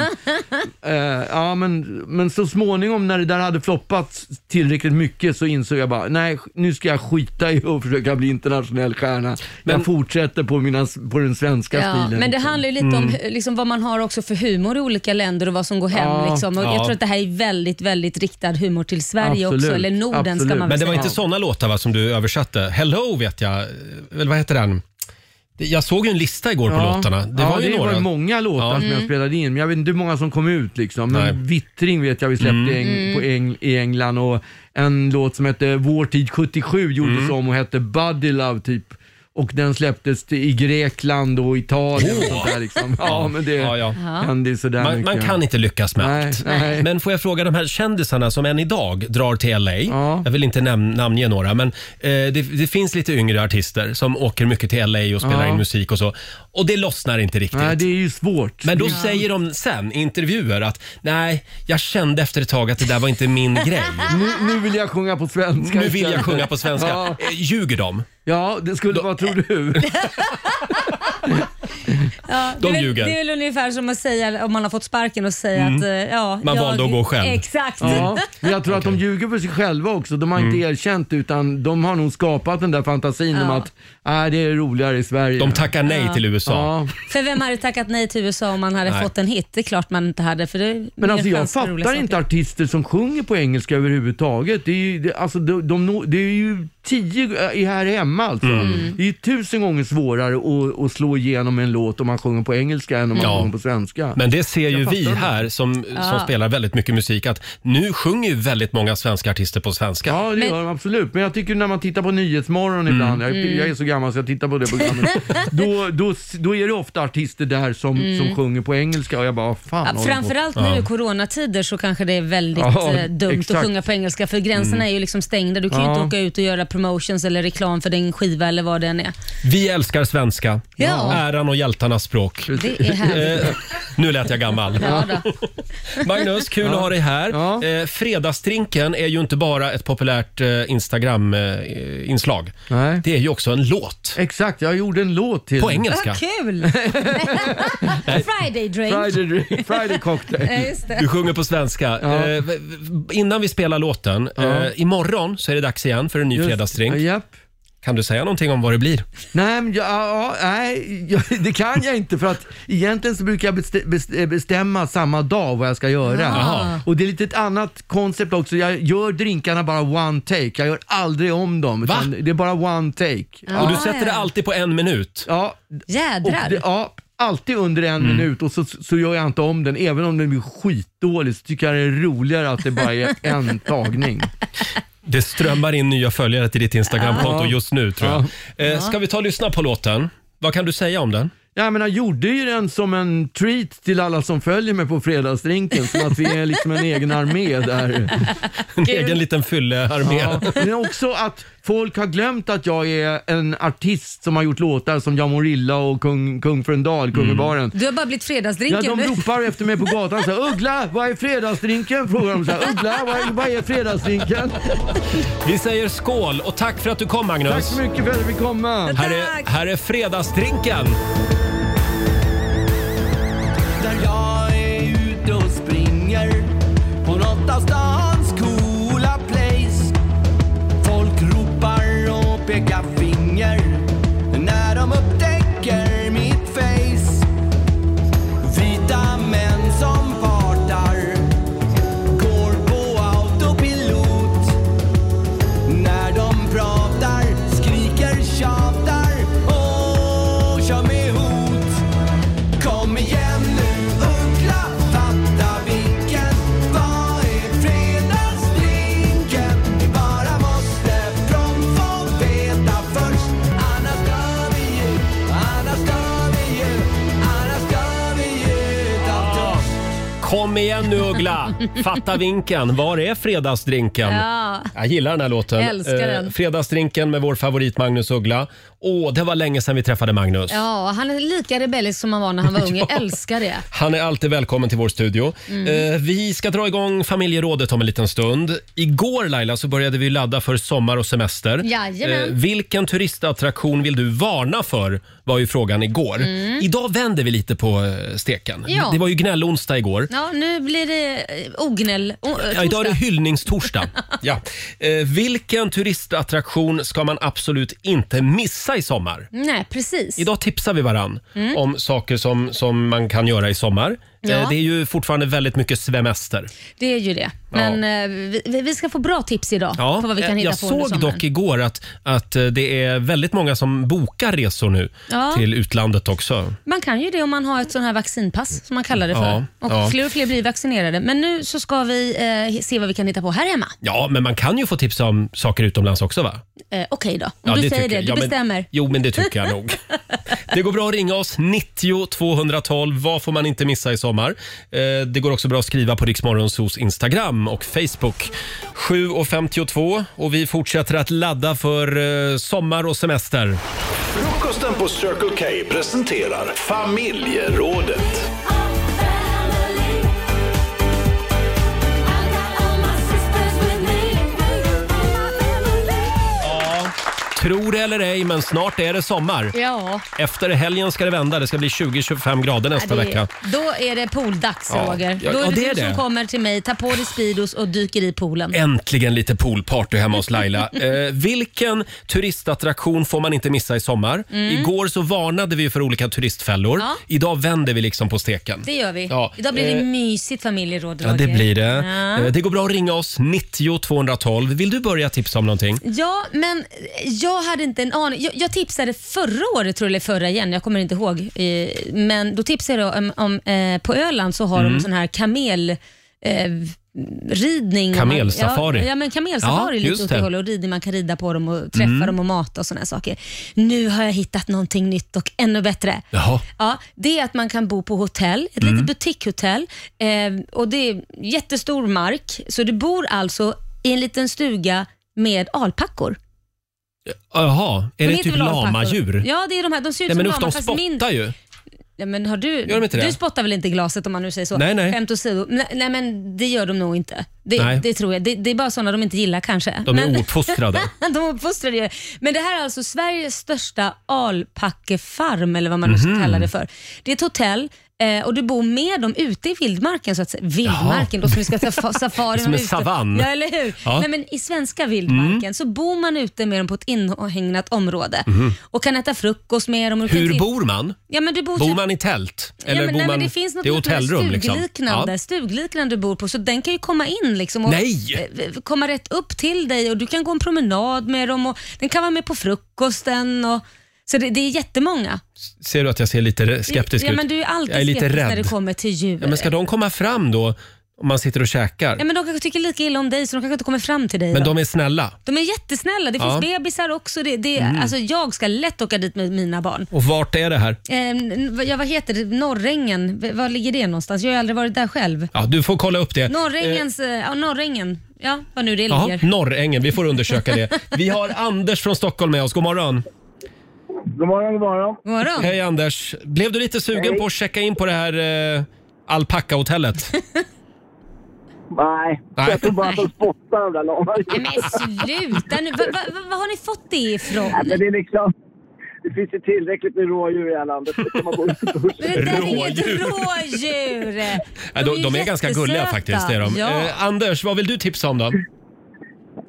S10: Eh, ja, men, men så småningom när det där hade floppat tillräckligt mycket så insåg jag bara, nej nu ska jag skita i att försöka bli internationell stjärna. jag fortsätter på, mina, på den svenska
S2: Ja,
S10: stilen.
S2: men det
S10: liksom.
S2: handlar ju lite
S1: Mm.
S2: om hu- liksom, vad man har också för humor i olika länder och vad som går hem.
S10: Ja,
S2: liksom. och
S1: ja.
S2: Jag tror att det här är väldigt, väldigt riktad humor till Sverige också, eller Norden ska man väl
S1: Men det var
S2: säga.
S1: inte såna låtar va, som du översatte? Hello vet jag, eller vad heter den? Det- Jag såg ju en lista igår på
S10: Ja.
S1: låtarna. Det
S10: ja,
S1: var ju
S10: det
S1: några.
S10: var många låtar
S1: Ja.
S10: som jag
S1: Mm.
S10: spelade in, men jag vet inte hur många som kom ut liksom. Men
S1: Nej.
S10: Vittring vet jag vi släppte
S1: Mm.
S10: Eng-
S1: Mm.
S10: på Eng- i England och en låt som hette Vår tid 77 gjordes
S1: Mm.
S10: om och hette Buddy Love typ. Och den släpptes till- i Grekland och Italien och
S1: Åh.
S10: sånt där liksom. Ja, men det
S1: Ja, ja.
S10: hände ju sådär
S1: Man, man
S10: mycket.
S1: kan inte lyckas med
S10: Nej,
S1: allt.
S10: nej.
S1: Men får jag fråga de här kändisarna som än idag drar till LA. Jag vill inte nam- namnge några, men eh, det, det finns lite yngre artister som åker mycket till LA och spelar
S10: Ja.
S1: in musik och så. Och det lossnar inte riktigt.
S10: Nej, det är ju svårt.
S1: Men då
S10: Det är-
S1: säger de sen i intervjuer att nej, jag kände efter ett tag att det där var inte min grej.
S10: Nu, nu vill jag sjunga på svenska
S1: Nu vill jag
S10: istället.
S1: sjunga på svenska.
S10: Ja.
S1: Eh, Ljuger de?
S10: Ja, det skulle vara, tror du?
S2: Ja,
S1: De
S2: det, är väl-
S1: ljuger.
S2: det är väl ungefär som att säga, om man har fått sparken, och säga
S10: Mm.
S2: att eh, ja,
S10: Man
S2: jag,
S10: valde att gå själv.
S2: Exakt.
S10: Ja, men jag tror att de ljuger för sig själva också. De har inte
S1: Mm.
S10: erkänt utan de har nog skapat den där fantasin om
S2: Ja.
S10: att äh, det är roligare i Sverige. De
S1: tackar nej
S2: Ja. till
S1: USA.
S10: Ja.
S2: För vem hade tackat nej till USA om man hade
S10: Nej.
S2: fått en hit? Det är klart man inte hade. För det är
S10: Men
S2: mer
S10: alltså jag
S2: chans för roliga
S10: fattar
S2: saker.
S10: inte artister som sjunger på engelska överhuvudtaget. Det är ju, det, alltså, de, de, når- det är ju tio äh, här hemma alltså.
S1: Mm.
S10: Det är ju tusen gånger svårare att, att slå igenom en låt om man sjunger på engelska än om man
S1: Ja.
S10: sjunger på svenska.
S1: Men det ser ju
S10: Jag
S1: vi
S10: fattar det.
S1: här som, som
S10: Ja.
S1: spelar väldigt mycket musik att nu sjunger ju väldigt många svenska artister på svenska.
S10: Ja, det gör de absolut. Men jag tycker när man tittar på Nyhetsmorgon ibland, jag,
S1: Mm.
S10: jag är så gammal så jag tittar på det programmet, då, då, då är det ofta artister där som,
S2: Mm.
S10: som sjunger på engelska och jag bara, fan
S2: Ja,
S10: håller de på?"
S2: framförallt nu i coronatider så kanske det är väldigt
S10: Ja,
S2: eh, dumt
S10: exakt.
S2: att sjunga på engelska för gränserna
S1: Mm.
S2: är ju liksom stängda. Du kan ju
S1: Ja.
S2: inte åka ut och göra promotions eller reklam för din skiva eller vad det än är.
S1: Vi älskar svenska.
S2: Ja.
S1: Äran och hjältarnas språk.
S2: Det är härligt.
S1: Eh, nu lät jag gammal.
S2: Ja, då.
S1: Magnus, kul att ha dig här. Eh, fredagsdrinken är ju inte bara ett populärt eh, Instagram-inslag. det är ju också en låt.
S10: Exakt, jag gjorde en låt till...
S1: På engelska.
S2: Vad kul! Friday drink.
S10: Friday, drink- Friday cocktail.
S2: Ja, just det.
S1: Du sjunger på svenska.
S10: Ja.
S1: Eh, v- v- innan vi spelar låten,
S10: Ja.
S1: eh, imorgon så är det dags igen för en ny
S10: Just-
S1: fredagsdrink.
S10: Japp.
S1: Kan du säga någonting om vad det blir?
S10: Nej, men jag, ja, nej jag, det kan jag inte för att egentligen så brukar jag best- best- bestämma samma dag vad jag ska göra.
S1: Ah.
S6: Jaha.
S10: Och det är lite ett annat koncept också. Jag gör drinkarna bara one take. Jag gör aldrig om dem. utan Det är bara one take.
S1: Ah. Och du sätter det alltid på en minut? Mm.
S10: Ja.
S2: Jädrar.
S10: Och det, ja, alltid under en minut och så, så gör jag inte om den. Även om den blir skitdålig så tycker jag det är roligare att det bara är en tagning.
S1: Det strömmar in nya följare till ditt Instagramkonto
S10: Ja.
S1: just nu tror jag. Eh, ska vi ta och lyssna på låten? Vad kan du säga om den?
S10: Ja, men jag gjorde ju den som en treat till alla som följer mig på Fredagsdrinken, som att vi är liksom en egen armé där.
S1: En egen liten fyllearmé.
S10: Ja, men också att folk har glömt att jag är en artist som har gjort låtar som Jag mår illa och Kung, Kung för en
S1: Mm.
S10: dag, Kungabaren.
S2: Du har bara blivit
S10: Ja,
S2: fredagsdrinken
S10: de
S2: nu.
S10: ropar efter mig på gatan så här, Uggla, vad är fredagsdrinken? Frågar de så här, Uggla, vad är, vad är fredagsdrinken?
S1: Vi säger skål och tack för att du kom Magnus.
S10: Tack så mycket för att vi fick komma.
S1: Här är, här är fredagsdrinken.
S8: Där jag är ute och springer på något av stans coola place. Folk ropar och pekar finger när de upptäcker mitt face. Vita män som partar går på autopilot. När de pratar, skriker, tjatar och kör med hot. Kom igen nu Uggla, fatta vinken. Vad är fredagsdrinken? Vi bara måste prompt få veta först. Annars dör vi ju, annars dör vi ju, annars dör vi ju utav törst.
S1: Kom igen nu Uggla! Fatta vinken. Var är fredagsdrinken?
S2: Ja.
S1: Jag gillar den här låten. Eh,
S2: Jag älskar den.
S1: fredagsdrinken med vår favorit Magnus Uggla. Åh, det var länge sedan vi träffade Magnus.
S2: Ja, han är lika rebellisk som han var när han var ung. Jag älskar det.
S1: Han är alltid välkommen till vår studio.
S2: Mm.
S1: Eh, vi ska dra igång familjerådet om en liten stund. Igår Laila så började vi ladda för sommar och semester. Eh,
S2: Jajamän.
S1: vilken turistattraktion vill du varna för? var ju frågan igår.
S2: Mm.
S1: Idag vänder vi lite på eh, steken.
S2: Ja.
S1: Det var ju gnällonsdag igår.
S2: Ja, nu blir det eh, ognäll. O-
S1: Ja, idag är det
S2: torsdag.
S1: hyllningstorsdag. ja. eh, vilken turistattraktion ska man absolut inte missa i sommar?
S2: Nej, precis.
S1: Idag tipsar vi varann
S2: Mm.
S1: om saker som, som man kan göra i sommar.
S2: Ja.
S1: Eh, Det är ju fortfarande väldigt mycket svemester.
S2: Det är ju det. Men eh, vi- vi, vi ska få bra tips idag på vad vi kan
S1: eh,
S2: hitta
S1: jag
S2: på under
S1: såg
S2: sommaren.
S1: dock igår att, att eh, det är väldigt många som bokar resor nu
S2: Ja.
S1: till utlandet också.
S2: Man kan ju det om man har ett sån här vaccinpass som man kallar det för.
S1: Ja,
S2: och
S1: ja.
S2: fler och fler blir vaccinerade. Men nu så ska vi eh, se vad vi kan hitta på här hemma.
S1: Ja, men man kan ju få tipsa om saker utomlands också va?
S2: Eh, Okej då, om
S1: Ja,
S2: du
S1: tycker
S2: säger det.
S1: jag.
S2: Du
S1: Ja, men-
S2: bestämmer.
S1: Jo, men det tycker jag nog. Det går bra att ringa oss, 90 212. Vad får man inte missa i sommar? Eh, Det går också bra att skriva på Riksmorgonsos Instagram och Facebook. 7.52 och vi fortsätter att ladda för eh, sommar och semester.
S6: Frukosten på Circle K presenterar familjerådet.
S1: Tror det eller ej, men snart är det sommar.
S2: Ja.
S1: Efter helgen ska det vända. Det ska bli 20-25 grader
S2: Ja,
S1: nästa
S2: det-
S1: vecka.
S2: Då är det pooldags
S1: Ja,
S2: Roger.
S1: ja,
S2: Då är
S1: ja,
S2: det,
S1: det är
S2: du som
S1: det.
S2: kommer till mig, tar på dig Speedos och dyker i poolen.
S1: Äntligen lite poolparty hemma hos Laila. Eh, vilken turistattraktion får man inte missa i sommar?
S2: Mm.
S1: Igår så varnade vi för olika turistfällor.
S2: Ja.
S1: Idag vänder vi liksom på steken.
S2: Det gör vi.
S1: Ja,
S2: Idag blir det
S1: eh,
S2: mysigt familjeråd
S1: Ja, det
S2: Roger.
S1: blir det.
S2: Ja.
S1: Eh, Det går bra att ringa oss, 90 212. Vill du börja tipsa om någonting?
S2: Ja, men jag hade inte en aning. Jag, jag tipsade förra året, tror jag, eller förra igen, jag kommer inte ihåg. Eh, Men då tipsade jag om, om eh, på Öland så har
S1: Mm.
S2: de sån här kamel... Eh, ridning.
S1: Kamelsafari.
S2: Ja, ja men kamelsafari
S1: Ja,
S2: ja,
S1: just
S2: lite åt det
S1: det.
S2: hållet. Och ridning, man kan rida på dem och träffa
S1: Mm.
S2: dem och mata och såna här saker. Nu har jag hittat någonting nytt och ännu bättre.
S1: Jaha.
S2: Ja, det är att man kan bo på hotell, ett
S1: Mm.
S2: litet butikshotell. Eh, och det är jättestor mark, så du bor alltså i en liten stuga med alpackor.
S1: Jaha, är
S2: De
S1: det
S2: heter
S1: typ
S2: väl alpackor?
S1: lamadjur?
S2: Ja, det är de här. De ser ut
S1: Nej,
S2: som
S1: men usch,
S2: lamor,
S1: de
S2: fast
S1: spottar
S2: mindre. Mm-hmm.
S1: ju.
S2: Ja, men har du,
S1: Gör de inte det?
S2: du spottar väl inte i glaset om man nu säger så?
S1: Nej, nej.
S2: Skämt åsido. Nej, nej, men det gör de nog inte.
S1: Nej.
S2: Det, det tror jag. Det, det är bara sådana de inte gillar kanske.
S1: De är
S2: men,
S1: ouppfostrade.
S2: de är ouppfostrade. ja. Men det här är alltså Sveriges största alpackefarm, eller vad man nu
S1: Mhm.
S2: ska kalla det för. Det är ett hotell Eh, och du bor med dem ute i vildmarken så att säga. Vildmarken, låter som vi ska ta fa- safari.
S1: Det är som en
S2: och ute.
S1: savann.
S2: Ja, eller hur?
S1: Ja. Mm.
S2: Nej, men I svenska vildmarken så bor man ute med dem på ett inhägnat område
S1: Mhm.
S2: och kan äta frukost med dem. Och du kan
S1: Hur
S2: till-
S1: bor man?
S2: Ja, men du bor
S1: Bor
S2: typ-
S1: man i tält?
S2: Ja,
S1: Eller
S2: men,
S1: bor
S2: nej,
S1: man...
S2: men det finns något
S1: det är
S2: något med
S1: hotellrum liksom.
S2: stugliknande, stugliknande du bor på, så den kan ju komma in liksom och
S1: Nej!
S2: eh, komma rätt upp till dig och du kan gå en promenad med dem och den kan vara med på frukosten. Och, så det, det är jättemånga.
S1: Ser du att jag ser lite skeptisk
S2: ja,
S1: ut?
S2: men du är alltid
S1: jag är lite
S2: skeptisk
S1: rädd.
S2: när det kommer till djur.
S1: Ja, men ska de komma fram då om man sitter och käkar?
S2: Ja, men de kanske tycker lika illa om dig så de kanske inte kommer fram till dig.
S1: men
S2: då.
S1: de är snälla.
S2: de är jättesnälla. Det finns
S1: Ja.
S2: bebisar också. Det, det,
S1: Mm.
S2: alltså, jag ska lätt åka dit med mina barn.
S1: Och vart är det här?
S2: Eh, n- ja, vad heter det? Norrängen? V- Var ligger det någonstans? Jag har ju aldrig varit där själv.
S1: Ja, du får kolla upp det.
S2: Norrängens, eh, ja, Norrängen. Ja, vad nu det
S1: Eh, jaha,
S2: ligger.
S1: Norrängen, vi får undersöka det. Vi har Anders från Stockholm med oss. God morgon.
S13: God morgon, god morgon.
S2: God morgon.
S1: Hej Anders. Blev du lite sugen
S13: Hej.
S1: på att checka in på det här eh, alpackahotellet?
S13: Nej,
S1: Nej.
S13: jag tror bara att de spottar de där lama.
S2: Nej, men sluta nu. Vad va, va, vad har ni fått det ifrån?
S13: Nej, men det är liksom... Det finns ju tillräckligt med rådjur i det här landet. Det kan man gå ut och pusha.
S2: Det där är inget rådjur. De,
S1: Nej, de, de är ganska
S13: jättesöta.
S1: gulliga faktiskt. Det är de.
S13: Ja.
S1: Eh, Anders, vad vill du tipsa om då?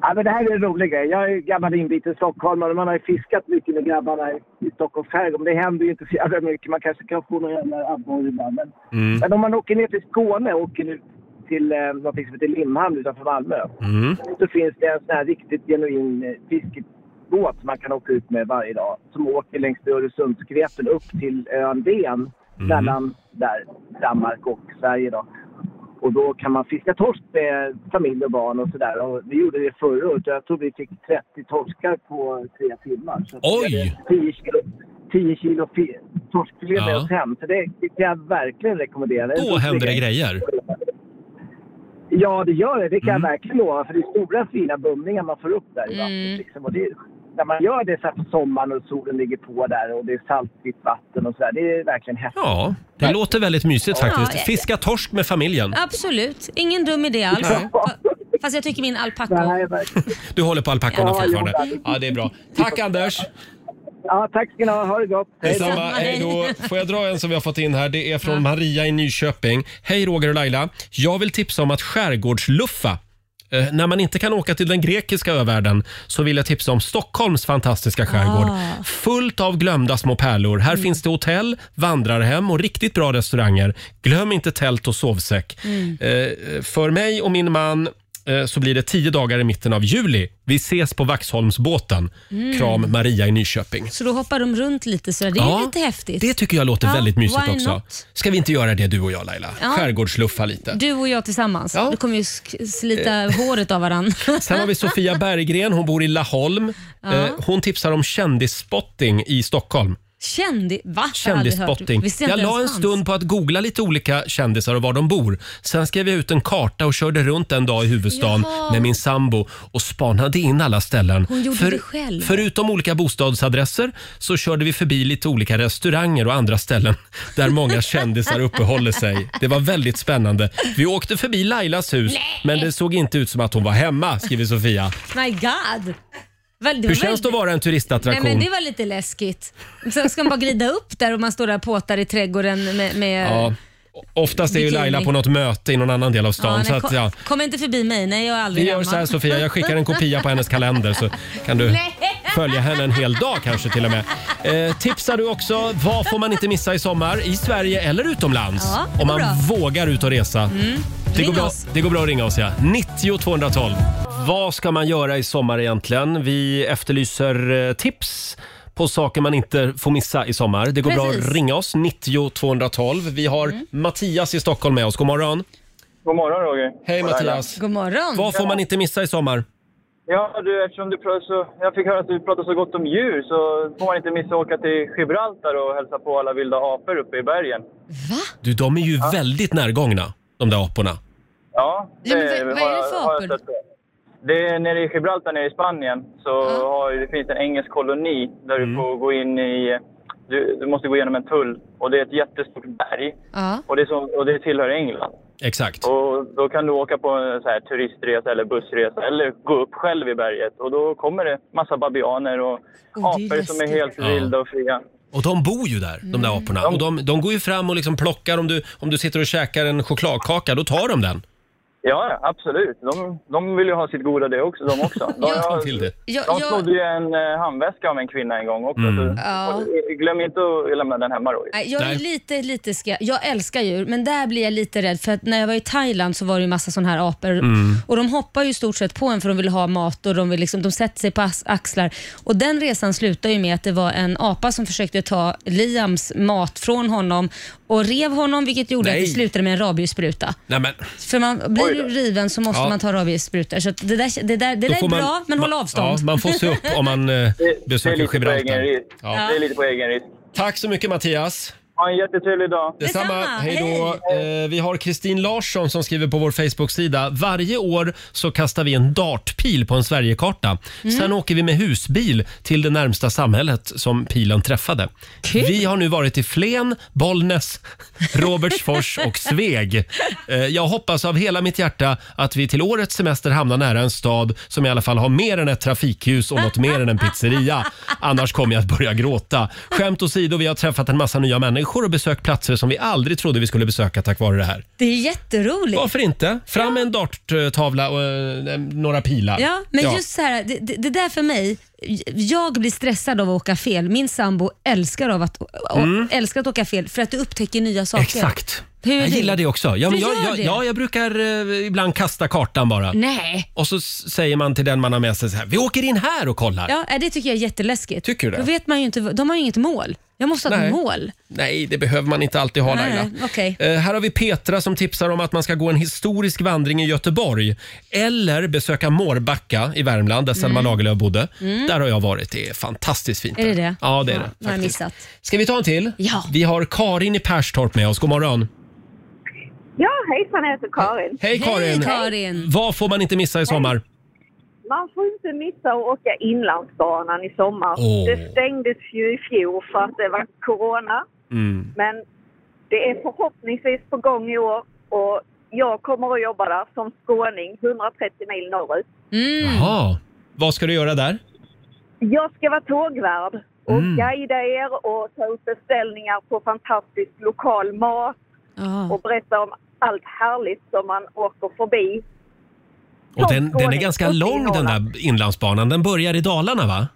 S13: Ja, men det här är en rolig grej. Jag är ju gammal inbiten stockholmare. Man har ju fiskat mycket med grabbarna i- i Stockholms skärgård. Men det händer ju inte så jävla mycket. Man kanske kan få någon jävla abborre ibland. Men,
S8: Mm.
S13: men om man åker ner till Skåne och åker ut till eh, något som heter Limhamn utanför Malmö.
S8: Mm.
S13: så finns det en sån här riktigt genuin eh, fiskebåt som man kan åka ut med varje dag. Som åker längs med Öresundsgrepen upp till ön Ven.
S1: Mm.
S13: Mellan där, Danmark och Sverige då. Och då kan man fiska torsk med familj och barn och sådär. Och vi gjorde det förra året och jag tror vi fick 30 torskar på tre timmar. Så
S1: Oj!
S13: 10 kilo, 10 kilo fi- torskfilé med
S1: Ja.
S13: oss hem. Så det, det kan jag verkligen rekommendera. Det är en
S1: Då
S13: rolig
S1: händer det
S13: grej.
S1: grejer.
S13: Ja, det gör det. Det kan jag verkligen lova. För det är stora fina bumlingar man får upp där i vattnet. Liksom. Och det, när man gör det så här på sommaren och solen ligger på där och det är saltvitt vatten och sådär. Det är verkligen häftigt.
S1: Ja, det låter väldigt mysigt
S2: Ja,
S1: faktiskt.
S2: ja.
S1: Fiska torsk med familjen.
S2: Absolut, ingen dum idé alls.
S1: Nej.
S2: Fa- Fast jag tycker min alpacka...
S1: Du håller på alpackorna
S2: Ja,
S1: fortfarande.
S2: jo,
S1: Ja, det är bra. Tack Anders!
S13: Ja, tack ska ni ha. Ha det gott.
S1: Detsamma, hej då. Får jag dra en som vi har fått in här? Det är från Maria i Nyköping. Hej Roger och Laila. Jag vill tipsa om att skärgårdsluffa. Eh, när man inte kan åka till den grekiska övärlden så vill jag tipsa om Stockholms fantastiska skärgård.
S8: Ah.
S1: Fullt av glömda små pärlor. Här finns det hotell, vandrarhem och riktigt bra restauranger. Glöm inte tält och sovsäck.
S8: Mm.
S1: Eh, för mig och min man eh, så blir det tio dagar i mitten av juli. Vi ses på Vaxholmsbåten.
S2: Mm.
S1: Kram Maria i Nyköping.
S2: Så då hoppar de runt lite sådär. Det är
S1: Ja,
S2: lite häftigt.
S1: Det tycker jag låter
S2: Ja,
S1: väldigt mysigt
S2: why
S1: också.
S2: not?
S1: Ska vi inte göra det du och jag Laila?
S2: Ja.
S1: Skärgårdsluffa lite.
S2: Du och jag tillsammans. Du kommer ju sk- slita håret av varandra.
S1: Sen har vi Sofia Berggren, hon bor i Laholm.
S2: Ja.
S1: Eh, Hon tipsar om kändisspotting i Stockholm.
S2: Kändis... Va? Jag har aldrig hört-
S1: Kändisspotting.
S2: Visste
S1: Jag
S2: inte
S1: la en
S2: ens fanns.
S1: stund på att googla lite olika kändisar och var de bor. Sen skrev jag ut en karta och körde runt en dag i huvudstaden
S2: Jaha.
S1: med min sambo och spanade in alla ställen.
S2: Hon gjorde det själv.
S1: Förutom olika bostadsadresser så körde vi förbi lite olika restauranger och andra ställen där många kändisar uppehåller sig. Det var väldigt spännande. Vi åkte förbi Lailas hus men det såg inte ut som att hon var hemma, skriver Sofia.
S2: My God. Väl- var
S1: Hur känns det
S2: väldigt-
S1: att vara en
S2: Nej,
S1: turistattraktion?
S2: men det var lite läskigt. Sen ska man bara glida upp där och man står där och påtar i trädgården med... med
S1: Ja. Oftast är ju
S2: Eh, Bikini.
S1: Laila på något möte i någon annan del av
S2: Ja,
S1: stan.
S2: nej,
S1: så att,
S2: kom,
S1: ja.
S2: kom inte förbi mig. Nej, jag är
S1: Vi
S2: aldrig
S1: gör
S2: hemma.
S1: så här Sofia, jag skickar en kopia på hennes kalender så kan du
S2: Nej.
S1: följa henne en hel dag kanske till och med. Eh, tipsar du också, vad får man inte missa i sommar i Sverige eller utomlands?
S8: Ja, det går
S1: om man
S8: bra.
S1: vågar ut och resa.
S8: Mm.
S1: Det, går
S8: Ring
S1: bra,
S8: oss.
S1: det går bra att ringa oss ja. 90 212. Vad ska man göra i sommar egentligen? Vi efterlyser eh, tips på saker man inte får missa i sommar. Det går bra
S14: Precis.
S1: att ringa oss, 90 212. Vi har Mattias i Stockholm med oss. God morgon.
S14: God morgon Roger.
S1: Hej
S14: God morgon,
S1: Mattias.
S2: God morgon.
S1: Vad får man inte missa i sommar?
S14: Ja, du, eftersom du pratar så, jag fick höra att du pratar så gott om djur så får man inte missa att åka till Gibraltar och hälsa på alla vilda apor uppe i bergen.
S1: Du, de är ju väldigt närgångna, de där aporna.
S14: Ja, eh,
S2: Ja, men vad- vad är det
S14: har-
S2: för
S14: har jag
S2: apor?
S14: stött på. Det är nere i Gibraltar, nere i Spanien, så har, det finns en engelsk koloni där
S1: Mm.
S14: du får gå in i... Du, du måste gå igenom en tull och det är ett jättestort berg
S2: Ja.
S14: och det, är som, och det tillhör England.
S1: Exakt.
S14: Och då kan du åka på en så här turistresa eller bussresa eller gå upp själv i berget och då kommer det massa babianer och
S2: Oh, det är ju
S14: apor som är
S2: läskigt.
S14: helt
S1: Ja.
S14: vilda och fria.
S1: Och de bor ju där, de där aporna. Och Mm. de, de går ju fram och liksom plockar. Om du, om du sitter och käkar en chokladkaka, då tar de den.
S14: Ja, ja, absolut. De, de vill ju ha sitt goda det också, de också. De,
S1: Kom till det.
S2: Jag-
S14: de
S2: jag-
S14: snodde ju en eh, handväska av en kvinna en gång också.
S1: Mm.
S14: Så,
S2: Ja.
S14: och, eh, glöm inte att lämna den hemma då.
S2: Nej, Jag är lite, lite ska... Jag älskar djur, men där blir jag lite rädd. För att när jag var i Thailand så var det ju massa sådana här apor.
S8: Mm.
S2: Och de hoppar ju i stort sett på en för de vill ha mat och de, vill liksom, de sätter sig på as- axlar. Och den resan slutade ju med att det var en apa som försökte ta Liams mat från honom och rev honom, vilket gjorde att
S1: Nej.
S2: det slutade med en rabiesspruta.
S1: Nej, men,
S2: För man blir ju riven så måste
S1: Ja.
S2: man ta rabiessprutor. Så att det där, det där, det
S1: då
S2: där är
S1: får man-
S2: bra, men håll
S1: man-
S2: avstånd.
S1: Ja, man får se upp om man eh, besöker Gibraltar. Ja.
S14: Det är lite på egen risk.
S1: Tack så mycket Mattias.
S14: Ha en jättetrevlig dag.
S1: Detsamma. Hej då. Eh, vi har Kristin Larsson som skriver på vår Facebook-sida. Varje år så kastar vi en dartpil på en Sverigekarta. Sen åker vi med husbil till det närmsta samhället som pilen träffade. Vi har nu varit i Flen, Bollnäs, Robertsfors och Sveg. Eh, jag hoppas av hela mitt hjärta att vi till årets semester hamnar nära en stad som i alla fall har mer än ett trafikljus och något mer än en pizzeria. Annars kommer jag att börja gråta. Skämt åsido, vi har träffat en massa nya människor och besökt platser som vi aldrig trodde vi skulle besöka tack vare det här.
S2: Det är jätteroligt.
S1: Varför inte? Fram med en darttavla och eh, några pilar.
S2: Ja, men just så här, det, det det där för mig, j- jag blir stressad av att åka fel. Min sambo älskar, av att, å-
S1: Mm.
S2: älskar att åka fel för att du upptäcker nya saker.
S1: Exakt.
S2: Hur är
S1: jag
S2: du?
S1: gillar det också. Ja,
S2: Du
S1: men jag,
S2: gör
S1: jag,
S2: det?
S1: ja, jag brukar eh, ibland kasta kartan bara.
S2: Nej.
S1: Och så s- säger man till den man har med sig så här, vi åker in här och kollar.
S2: Ja, nej, det tycker jag är jätteläskigt.
S1: Tycker du det?
S2: Då vet man ju inte, vad- de har ju inget mål. Jag måste ha
S1: Nej.
S2: ett mål.
S1: Nej, det behöver man inte alltid ha
S2: Nej,
S1: Laila.
S2: okej.
S1: Eh, här har vi Petra som tipsar om att man ska gå en historisk vandring i Göteborg eller besöka Mårbacka i Värmland där Selma
S2: Mm.
S1: Lagerlöf bodde.
S2: Mm.
S1: Där har jag varit. Det är fantastiskt fint.
S2: Är det
S1: där.
S2: det?
S1: Ja, det är det.
S2: Vad har jag missat?
S1: Ska vi ta en till?
S2: Ja.
S1: Vi har Karin i Perstorp med oss. God morgon.
S15: Ja, hejsan, jag heter Karin.
S1: Hej Karin. Vad får man inte missa i sommar?
S15: Man får inte missa att åka Inlandsbanan i sommar.
S1: Åh.
S15: Det stängdes ju i fjol för att det var corona,
S1: Mm.
S15: men det är förhoppningsvis på gång i år och jag kommer att jobba där som skåning, 130 mil norrut.
S2: Mm.
S1: Jaha. Vad ska du göra där?
S15: Jag ska vara tågvärd och
S1: Mm.
S15: guida er och ta upp beställningar på fantastisk lokal mat
S1: Ah.
S15: och berätta om allt härligt som man åker förbi.
S1: Och den, den är
S15: skåning,
S1: ganska
S15: uppe i
S1: lång den där inlandsbanan. Den börjar i Dalarna va?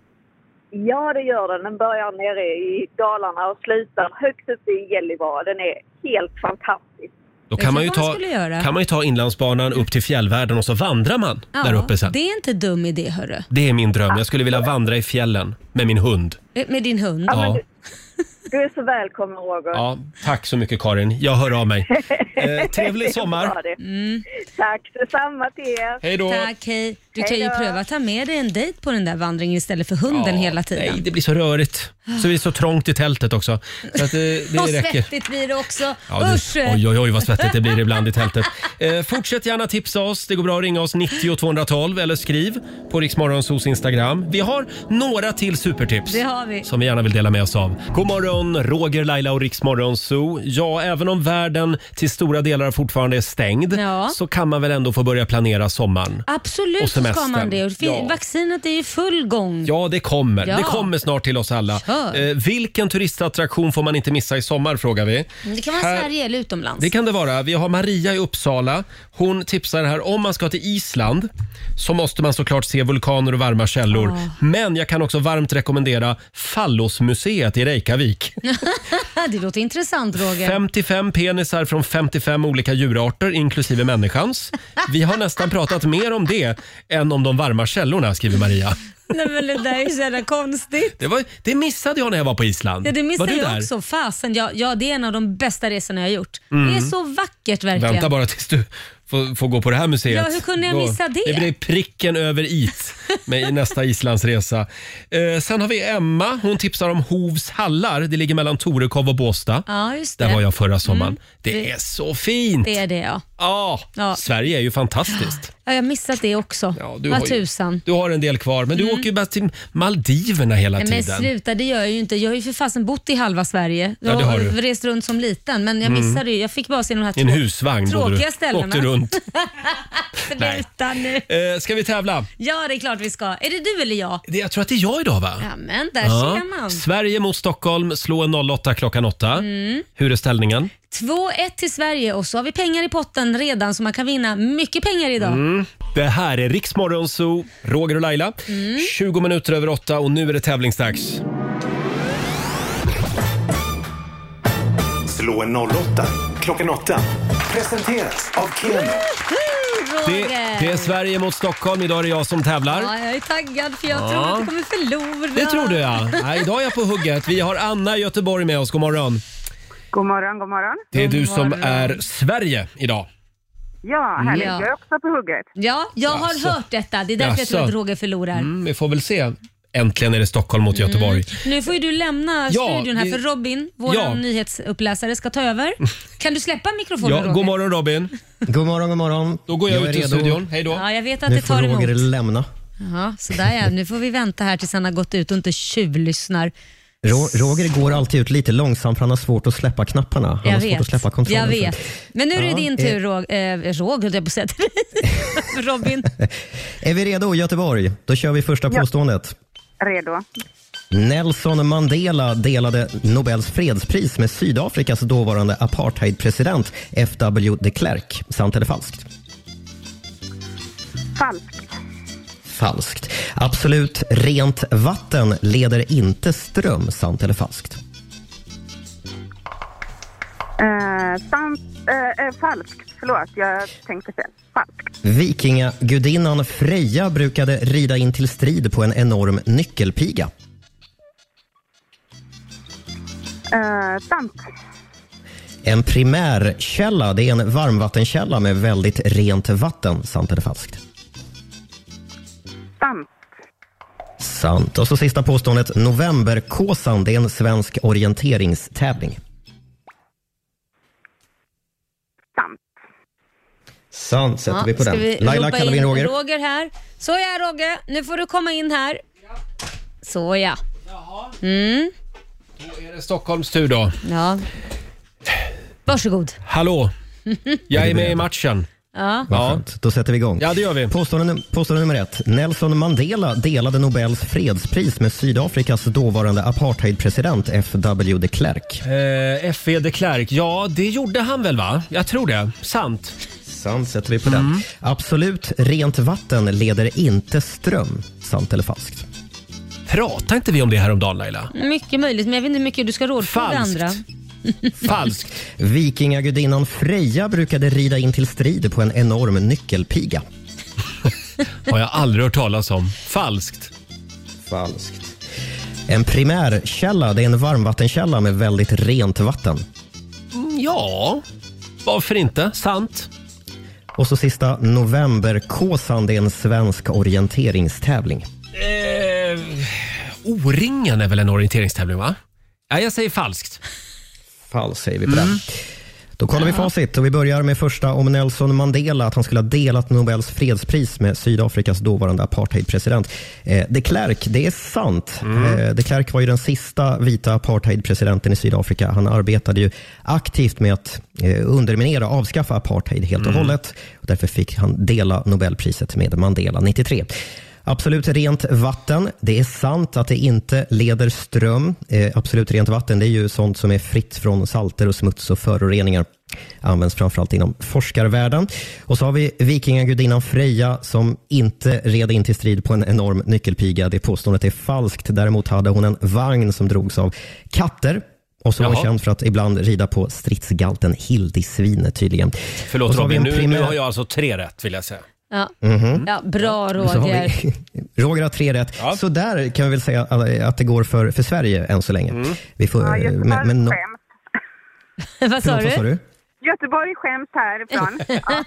S15: Ja, det gör den. Den börjar nere i Dalarna och slutar högt uppe i Gällivare. Den är helt fantastisk.
S1: Då kan man, ju ta, kan man ju ta inlandsbanan upp till fjällvärlden och så vandrar man
S2: Ja,
S1: där uppe sen.
S2: Det är inte dum idé hörru.
S1: Det är min dröm. Jag skulle vilja vandra i fjällen med min hund.
S2: Eh, Med din hund.
S1: Ja. Ja, men
S15: Du är så välkommen, Roger.
S1: Ja, tack så mycket Karin. Jag hör av mig. Eh, trevlig sommar.
S15: Mm. Tack detsamma till er.
S1: Hej då.
S2: Tack, hej. Du kan
S15: Hej
S2: ju
S15: då.
S2: pröva att ta med dig en dejt på den där vandringen istället för hunden hela tiden.
S1: Nej, det blir så rörigt. Så det är så trångt i tältet också. Så att eh, det,
S2: och
S1: det räcker.
S2: svettigt blir det också.
S1: Ja, det,
S2: Usch!
S1: oj, oj, oj vad svettigt det blir ibland i tältet. Eh, fortsätt gärna tipsa oss. Det går bra att ringa oss 90 212 eller skriv på Riksmorgonsos Instagram. Vi har några till supertips.
S2: Det har vi.
S1: Som vi gärna vill dela med oss av. God morgon, Roger, Laila och Riksmorgonso. Ja, även om världen till stora delar fortfarande är stängd
S2: Ja.
S1: så kan man väl ändå få börja planera sommaren.
S2: Absolut
S1: Och
S2: så ska
S1: semestern.
S2: man det. Och det fin-
S1: Ja.
S2: Vaccinet är i full gång.
S1: Ja, det kommer.
S2: Mm. Ja.
S1: Det kommer snart till oss alla.
S2: Kör.
S1: Eh, vilken turistattraktion får man inte missa i sommar, frågar vi.
S2: Det kan vara
S1: Här-
S2: Sverige eller utomlands.
S1: Det kan det vara. Vi har Maria i Uppsala. Hon tipsar här om man ska till Island så måste man såklart se vulkaner och varma källor.
S2: Ah.
S1: Men jag kan också varmt rekommendera Fallosmuseet i Reykjavik.
S2: det låter intressant Roger.
S1: 55 penisar från 55 olika djurarter inklusive människans. Vi har nästan pratat mer om det än om de varma källorna skriver Maria.
S2: Nej men det där är ju så jävla konstigt.
S1: Det, var, det missade jag när jag var på Island.
S2: Ja, det
S1: var
S2: missade
S1: du
S2: jag
S1: där?
S2: också. Fasen, ja, ja, det är en av de bästa resorna jag har gjort.
S1: Mm.
S2: Det är så vackert verkligen.
S1: Vänta bara tills du får, får gå på det här museet.
S2: Ja, hur kunde jag
S1: Då-
S2: missa det?
S1: Det blir pricken över it med i nästa Islandsresa. Eh, sen har vi Emma. Hon tipsar om Hovs hallar. Det ligger mellan Torekov och Båstad.
S2: Ja, just det. Mm.
S1: Där var jag förra sommaren. Det
S2: Det-
S1: är så fint!
S2: Det är det ja.
S1: Ja,
S2: Ja.
S1: Sverige är ju fantastiskt.
S2: ja jag har missat det också.
S1: du
S2: Vad
S1: har ju-
S2: tusan. Mm.
S1: Du har en del kvar, men du åker ju bara till Maldiverna hela
S2: Nej, men
S1: tiden.
S2: sluta, det gör jag ju inte. Jag har ju för fasen bott i halva Sverige.
S1: Ja, det har du.
S2: rest runt som liten, men jag
S1: Mm.
S2: missade ju. Jag fick bara se de här
S1: I en husvagn bodde
S2: tråkiga
S1: du.
S2: ställena.
S1: åkte du runt.
S2: Sluta nu.
S1: Eh, ska vi tävla?
S2: Ja, det är klart vi ska. Är det du eller jag?
S1: Det- Jag tror att det är jag idag va?
S2: Ja, men där
S1: Ja.
S2: ser man.
S1: Sverige mot Stockholm, slå en 08 klockan 8.
S2: Mm.
S1: Hur är ställningen?
S2: 2-1 till Sverige och så har vi pengar i potten redan så man kan vinna mycket pengar idag.
S1: Mm. Det här är Riksmorgon Zoo, Roger och Laila.
S2: Mm.
S1: 20 minuter över 8 och nu är det tävlingsdags.
S5: Slå en 08 klockan 8. Presenteras av Keno.
S1: Det,
S2: Roger.
S1: det är Sverige mot Stockholm, idag är det jag som tävlar.
S2: Ja, jag är taggad för jag
S1: Ja.
S2: tror att du kommer förlora.
S1: Det tror du ja. Nej, idag är jag på hugget. Vi har Anna i Göteborg med oss, god morgon.
S16: God morgon, god morgon.
S1: Det är du som är Sverige idag.
S16: Ja,
S1: Mm.
S16: härligt.
S1: Ja.
S16: Jag är också på hugget.
S2: Ja, jag har
S1: Jaså.
S2: hört detta. Det är därför jag tror
S1: Jaså.
S2: att Roger förlorar.
S1: Mm, vi får väl se. Äntligen är det Stockholm mot Göteborg.
S2: Mm. Nu får ju du lämna
S1: Ja,
S2: studion här
S1: det-
S2: för Robin, vår
S1: Ja.
S2: nyhetsuppläsare, ska ta över. Kan du släppa mikrofonen
S17: Ja,
S2: Roger?
S17: god
S1: morgon Robin.
S17: God morgon, god morgon. Då
S1: går jag ut ur studion. Hej
S2: Ja, jag vet att
S17: Nu
S2: det
S17: får
S2: tar emot.
S17: Roger lämna.
S2: Ja, sådär ja. Nu får vi vänta här tills han har gått ut och inte tjuvlyssnar.
S17: Ro- Roger går alltid ut lite långsamt för han har svårt att släppa knapparna. Han
S2: Jag
S17: har svårt
S2: vet.
S17: att släppa kontrollen.
S2: Jag vet. Men nu är det
S17: Ja,
S2: din
S17: eh.
S2: tur, Rog- eh, Roger, höll jag på att säga till dig. Robin.
S17: Är vi redo Göteborg? Då kör vi första
S16: Ja.
S17: påståendet.
S16: Redo.
S17: Nelson Mandela delade Nobels fredspris med Sydafrikas dåvarande apartheidpresident F.W. de Klerk. Sant eller falskt?
S16: Falskt.
S17: Falskt. Absolut rent vatten leder inte ström. Sant eller falskt?
S16: Eh, sant, eh, eh, falskt. Förlåt, jag tänkte fel. Falskt.
S17: Vikingagudinnan Freja brukade rida in till strid på en enorm nyckelpiga.
S16: Eh, sant.
S17: En primärkälla det är en varmvattenkälla med väldigt rent vatten. Sant eller falskt?
S16: Sant.
S17: Sant. Och så sista påståendet. Novemberkåsan det är en svensk orienteringstävling.
S16: Sant.
S17: Sant sätter
S2: Ja,
S17: vi på
S2: ska
S17: den.
S2: vi
S17: Laila
S2: ropa
S17: kallar vi
S2: in
S17: in Roger.
S2: Roger här. Såja Roger, nu får du komma in här. Såja. Mm,
S1: Då är det Stockholms tur då.
S2: ja. Varsågod.
S1: Hallå, jag är med i matchen.
S2: Ja.
S17: Vad skönt. Då sätter vi igång.
S1: Ja, det gör vi.
S17: Påstående, påstående nummer ett. Nelson Mandela delade Nobels fredspris med Sydafrikas dåvarande apartheidpresident F.W. de Klerk.
S1: Eh, F.E. de Klerk, ja det gjorde han väl va? Jag tror det. Sant. Mm.
S17: Sant sätter vi på den. Absolut rent vatten leder inte ström. Sant eller falskt?
S1: Pratade inte vi om det här om dagen Laila?
S2: Mycket möjligt, men jag vet inte hur mycket du ska rådfråga
S17: Falskt.
S2: andra.
S1: Falskt.
S17: Vikingagudinnan Freja brukade rida in till strid på en enorm nyckelpiga.
S1: Har jag aldrig hört talas om. Falskt.
S17: Falskt. En primärkälla, det är en varmvattenkälla med väldigt rent vatten.
S1: Mm, Ja, varför inte? Sant.
S17: Och så sista, Novemberkåsan, det är en svensk orienteringstävling.
S1: Eh, O-ringen är väl en orienteringstävling va? Ja, jag säger falskt.
S17: Falskt säger vi på den. Då kollar vi facit och vi börjar med första om Nelson Mandela, att han skulle ha delat Nobels fredspris med Sydafrikas dåvarande apartheidpresident. Eh, de Klerk, det är sant. Eh, de Klerk var ju den sista vita apartheidpresidenten i Sydafrika. Han arbetade ju aktivt med att eh, underminera och avskaffa apartheid helt och
S18: Mm.
S17: hållet. Och därför fick han dela Nobelpriset med Mandela 93. Absolut rent vatten. Det är sant att det inte leder ström. Eh, absolut rent vatten det är ju sånt som är fritt från salter och smuts och föroreningar. Används framförallt inom forskarvärlden. Och så har vi vikingagudinnan Freja som inte red in till strid på en enorm nyckelpiga. Det påståendet är falskt. Däremot hade hon en vagn som drogs av katter. Och så var hon
S1: Jaha.
S17: känd för att ibland rida på stridsgalten Hildisvinet tydligen.
S1: Förlåt
S17: Och så har vi
S1: Robin,
S17: en
S1: nu,
S17: primär-
S1: nu har jag alltså tre rätt vill jag säga.
S2: Ja.
S17: Mhm.
S2: Ja, bra
S17: Så har
S2: Roger.
S17: vi, Roger har tre rätt. Så där kan vi väl säga eh, att det går för, för Sverige än så länge.
S1: Mm.
S17: Vi får, eh, men, men, no-
S2: Vad sa
S17: Förlåt,
S2: du?
S17: vad sa du?
S16: Göteborg skäms härifrån. ja.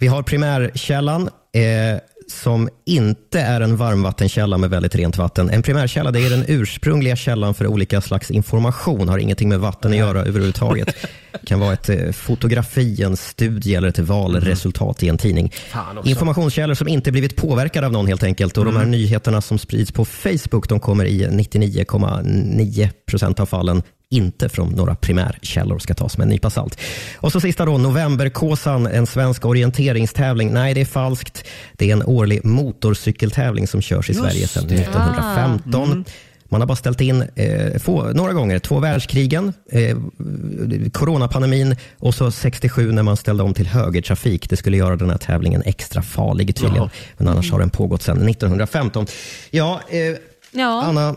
S17: Vi har primärkällan eh, som inte är en varmvattenkälla med väldigt rent vatten. En primärkälla det är den ursprungliga källan för olika slags information. Har ingenting med vatten att göra överhuvudtaget. kan vara ett eh, fotografi, en studie eller ett valresultat i en tidning.
S1: Fan också.
S17: Informationskällor som inte blivit påverkade av någon helt enkelt. Och De
S8: Mm.
S17: här nyheterna som sprids på Facebook de kommer i 99,9 procent av fallen inte från några primärkällor ska tas med en nypa salt. Och så sista då, Novemberkåsan, en svensk orienteringstävling. Nej, det är falskt. Det är en årlig motorcykeltävling som körs i
S8: Just
S17: Sverige sedan
S8: det.
S17: 1915.
S8: Ah. Mm.
S17: Man har bara ställt in eh, få, några gånger. Två världskrigen, eh, coronapandemin och så 67 när man ställde om till högertrafik. Det skulle göra den här tävlingen extra farlig tydligen.
S8: Jaha.
S17: Men annars har den pågått sedan 1915. Ja, eh, Anna.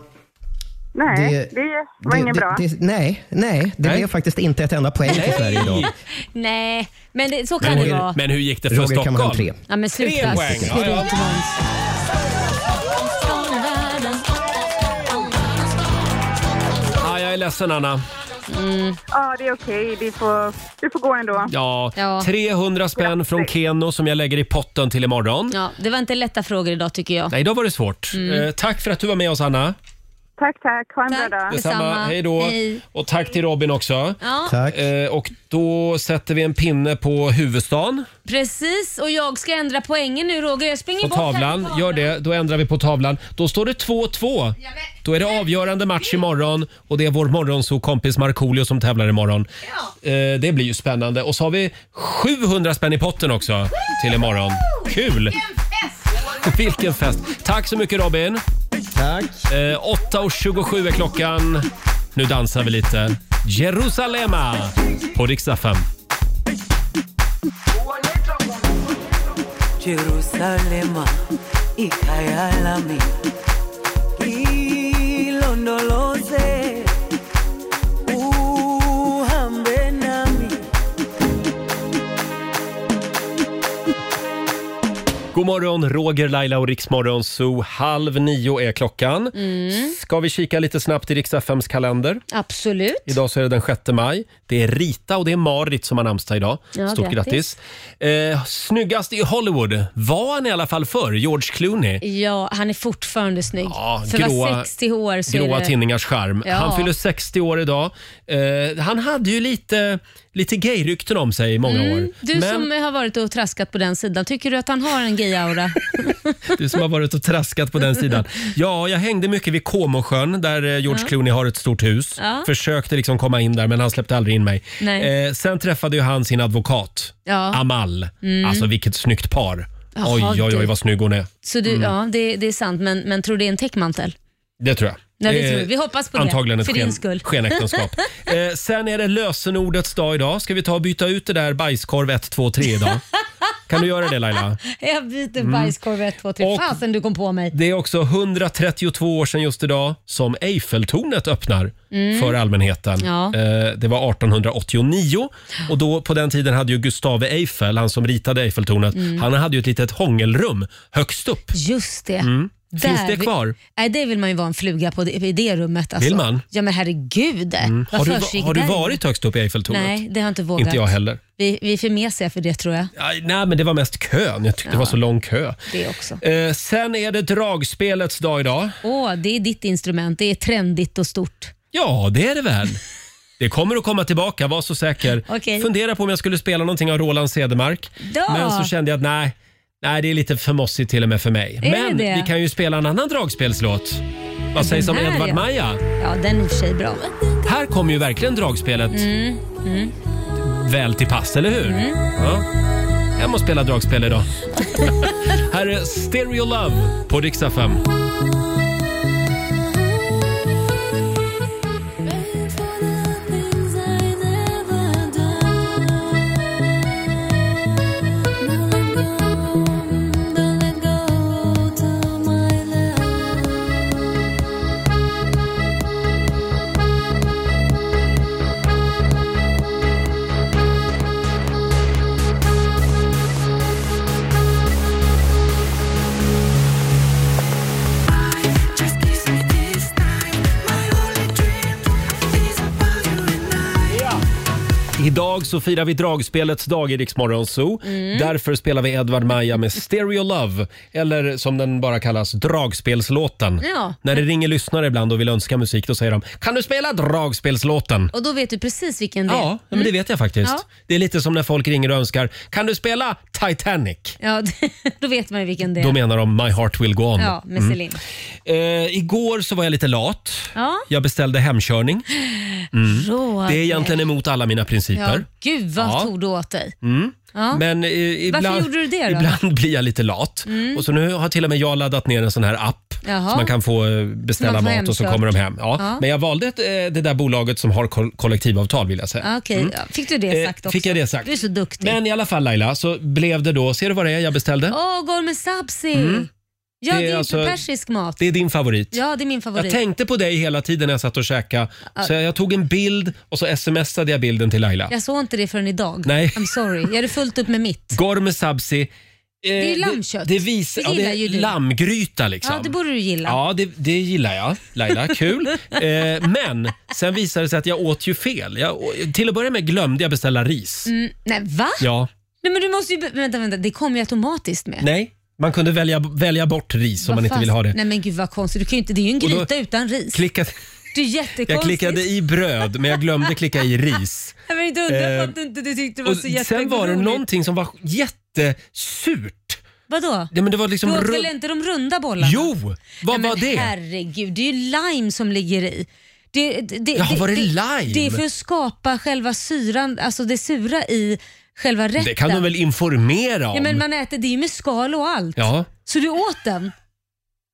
S16: Nej,
S17: Det-
S16: det, var
S17: det-
S16: ingen
S17: det-
S16: bra.
S17: det- nej, nej, det
S1: Nej.
S17: blev faktiskt inte ett enda poäng till Sverige idag.
S2: Nej, men det, så kan det vara.
S1: men hur gick det för
S17: Roger
S1: Stockholm?
S17: Kammarholm, tre.
S2: Ja, men sluta.
S1: Tre poäng. Ja, ja.
S2: Skryt, Måns.
S1: Ah, jag är ledsen Anna.
S2: Mm.
S16: Ja, det är okej. Vi får, vi får gå ändå.
S1: Ja,
S2: Ja.
S1: 300 spänn från Keno som jag lägger i potten till imorgon.
S2: Ja, det var inte lätta frågor idag tycker jag.
S1: Nej, då var det svårt.
S2: Mm.
S1: Eh, tack för att du var med oss Anna.
S16: Tack, tack. Ha en bra dag.
S1: Hej då. Och tack till Robin också.
S2: Ja.
S1: Eh, och då sätter vi en pinne på huvudstaden.
S2: Precis, och jag ska ändra poängen nu Roger. Jag springer
S1: På
S2: bort här.
S1: tavlan. Gör det. Då ändrar vi på tavlan. Då står det 2-2. Då är det avgörande match imorgon och det är vår morgonsokompis Markoolio som tävlar imorgon. Eh, det blir ju spännande. Och så har vi 700 spänn i potten också till imorgon. Kul! Vilken fest! Tack så mycket Robin! Tack! Eh, 8.27 är klockan. Nu dansar vi lite. Jerusalema på riksdag 5.
S8: Jerusalema ikayalami ilondoloze uhambe nami
S1: God morgon, Roger, Laila och Riksmorgon Zoo. Halv nio är klockan.
S2: Mm.
S1: Ska vi kika lite snabbt i riks FMs kalender?
S2: Absolut.
S1: Idag så är det den 6 maj. Det är Rita och det är Marit som har namnsdag idag.
S2: Ja,
S1: Stort grattis.
S2: grattis.
S1: Eh, snyggast i Hollywood var han i alla fall förr, George Clooney.
S2: Ja, han är fortfarande snygg.
S1: Ja,
S2: För var 60 år så
S1: gråa
S2: är det...
S1: tinningars charm.
S2: Ja.
S1: Han fyller 60 år idag. Eh, han hade ju lite, lite gayrykten om sig i många år.
S2: Mm, Du som har varit och traskat på den sidan, tycker du att han har en gay-aura?
S1: Du som har varit och traskat på den sidan. Ja, jag hängde mycket vid Comosjön där eh, George
S2: Ja.
S1: Clooney har ett stort hus.
S2: Ja.
S1: Försökte liksom komma in där men han släppte aldrig in mig.
S2: Nej.
S1: Eh, sen träffade ju han sin advokat,
S2: Ja.
S1: Amal.
S2: Mm.
S1: Alltså vilket snyggt par.
S2: Jaha,
S1: oj, oj, oj
S2: du.
S1: vad snygg hon är.
S2: Så du,
S1: Mm.
S2: ja, det, det är sant, men, men tror det är en täckmantel?
S1: Det tror jag.
S2: Nej, det
S1: Eh,
S2: tror vi. Vi hoppas på det.
S1: antagligen
S2: För
S1: ett
S2: din
S1: sken,
S2: skull.
S1: skenäktenskap. eh, sen är det lösenordets dag idag. Ska vi ta och byta ut det där bajskorv 1, 2, 3 idag? kan du göra det Laila?
S2: Jag byter
S1: Mm.
S2: bajskorv ett, två, tre.
S1: Och-
S2: Fasen du kom på mig.
S1: Det är också 132 år sedan just idag som Eiffeltornet öppnar
S2: Mm.
S1: för allmänheten.
S2: Ja.
S1: Eh, Det var 1889 och då, på den tiden hade ju Gustave Eiffel, han som ritade Eiffeltornet,
S2: Mm.
S1: han hade ju ett litet hångelrum högst upp.
S2: Just det.
S1: Mm. Finns
S2: Där
S1: det
S2: vi-
S1: kvar?
S2: Nej, det vill man ju vara en fluga på det, i det rummet. Alltså.
S1: Vill man?
S2: Ja, men herregud.
S1: Mm.
S2: Vad
S1: Har, du, va-
S2: försiggick
S1: har du
S2: där inne?
S1: varit högst upp i Eiffeltornet?
S2: Nej, det har jag inte vågat.
S1: Inte jag heller.
S2: Vi, vi är för mesiga för det tror jag.
S1: Aj, Nej, men det var mest kön. Jag tyckte det var så lång kö.
S2: Det också.
S1: Eh, sen är det dragspelets dag idag.
S2: Åh, det är ditt instrument. Det är trendigt och stort.
S1: Ja, det är det väl. Det kommer att komma tillbaka, var så säker.
S2: Okej.
S1: Fundera på om jag skulle spela någonting av Roland Cedermark.
S2: Ja.
S1: Men så kände jag att nej, nej, det är lite för mossigt till och med för mig.
S2: Är det
S1: Men
S2: det?
S1: vi kan ju spela en annan dragspelslåt. Vad
S2: Den
S1: sägs om
S2: här,
S1: Edvard
S2: ja.
S1: Maja?
S2: Ja, den är i och för sig bra.
S1: Här kommer ju verkligen dragspelet
S2: Mm, mm.
S1: väl till pass, eller hur? Ja. Jag måste spela dragspel idag. här är Stereo Love på Rix FM.
S8: I
S1: Idag så firar vi dragspelets dag i Rix Morgon Zoo.
S8: Mm.
S1: Därför spelar vi Edvard Maja med Stereo Love, eller som den bara kallas, dragspelslåten.
S2: Ja.
S1: När det ringer lyssnare ibland och vill önska musik, då säger de “Kan du spela dragspelslåten?”
S2: Och då vet du precis vilken det är. Mm.
S1: Ja, men det vet jag faktiskt.
S2: Ja.
S1: Det är lite som när folk ringer och önskar “Kan du spela Titanic?”
S2: Ja, då vet man ju vilken det är.
S1: Då menar de “My heart will go on”.
S2: Ja, med
S1: Mm.
S2: Celine.
S1: Eh, igår så var jag lite lat.
S2: Ja.
S1: Jag beställde hemkörning. Mm.
S2: Roger.
S1: Det är egentligen emot alla mina principer.
S2: Ja. Gud vad
S1: Ja.
S2: tog du åt dig.
S1: Mm.
S2: Ja.
S1: Men eh, ibland,
S2: gjorde du det då?
S1: ibland blir jag lite lat.
S2: Mm.
S1: Och så nu har till och med jag laddat ner en sån här app
S2: Jaha.
S1: så man kan få eh, beställa
S2: Man får
S1: mat och så
S2: hemkört.
S1: kommer de hem. Ja.
S2: Ja.
S1: Men jag valde ett, eh, det där bolaget som har koll- kollektivavtal vill jag säga.
S2: Ja, Ah, Okej,
S1: Mm.
S2: ja. fick du det
S1: Eh,
S2: sagt också?
S1: fick jag det sagt.
S2: Du är så duktig.
S1: Men i alla fall Laila, så blev det då, ser du vad det är jag beställde?
S2: Åh, golv med sabzi.
S1: Mm.
S2: Ja,
S1: Det
S2: det
S1: är
S2: är, ju
S1: alltså-
S2: persisk mat.
S1: Det är din favorit.
S2: Ja, det är min favorit.
S1: Jag tänkte på dig hela tiden när jag satt och käkade.
S2: Ja.
S1: Så jag tog en bild och så smsade jag bilden till Laila.
S2: Jag såg inte det förrän idag.
S1: Nej.
S2: I'm sorry. Jag hade fullt upp med mitt.
S1: Gorme sabzi. Eh,
S2: Det är ju lammkött.
S1: Det, det, visar,
S2: Det
S1: ja, det
S2: gillar ju
S1: är
S2: du.
S1: lammgryta liksom.
S2: Ja, det borde du gilla.
S1: Ja, det, det gillar jag. Laila, kul. eh, men sen visade det sig att jag åt ju fel. Jag, å- till att börja med glömde jag beställa ris.
S2: Mm, nej, va?
S1: Ja,
S2: Nej, men du måste ju... be- Vänta, vänta. Det kom ju automatiskt med.
S1: nej. Man kunde välja, välja bort ris om
S2: Vad
S1: man inte
S2: fast-
S1: vill ha det.
S2: Nej men gud vad konstigt. Du kan ju inte, det är ju en
S1: Och då-
S2: gryta utan ris.
S1: Klickade,
S2: Det är jättekonstigt.
S1: jag klickade i bröd, men jag glömde klicka i ris.
S2: Jag vet inte undra
S1: Eh,
S2: på att du inte du tyckte det var
S1: Och
S2: så jätteroligt.
S1: sen var det någonting som var jättesurt.
S2: Vadå?
S1: Ja, men det var liksom
S2: du åt
S1: ru-
S2: väl inte de runda bollarna?
S1: Jo! Vad
S2: Men
S1: var det?
S2: herregud, det är ju lime som ligger i. Det, det, det,
S1: Ja, var det lime?
S2: Det är för att skapa själva syran, alltså det sura i själva rätten.
S1: Det kan de väl informera om?
S2: Ja, men man äter det är ju med skal och allt.
S1: Ja.
S2: Så du åt den?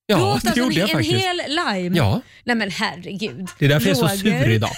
S1: Ja,
S2: du åt
S1: det
S2: alltså
S1: gjorde
S2: en,
S1: jag
S2: en
S1: faktiskt.
S2: hel lime?
S1: Ja.
S2: Nej men herregud.
S1: Det är därför jag är så
S2: Roger.
S1: sur idag.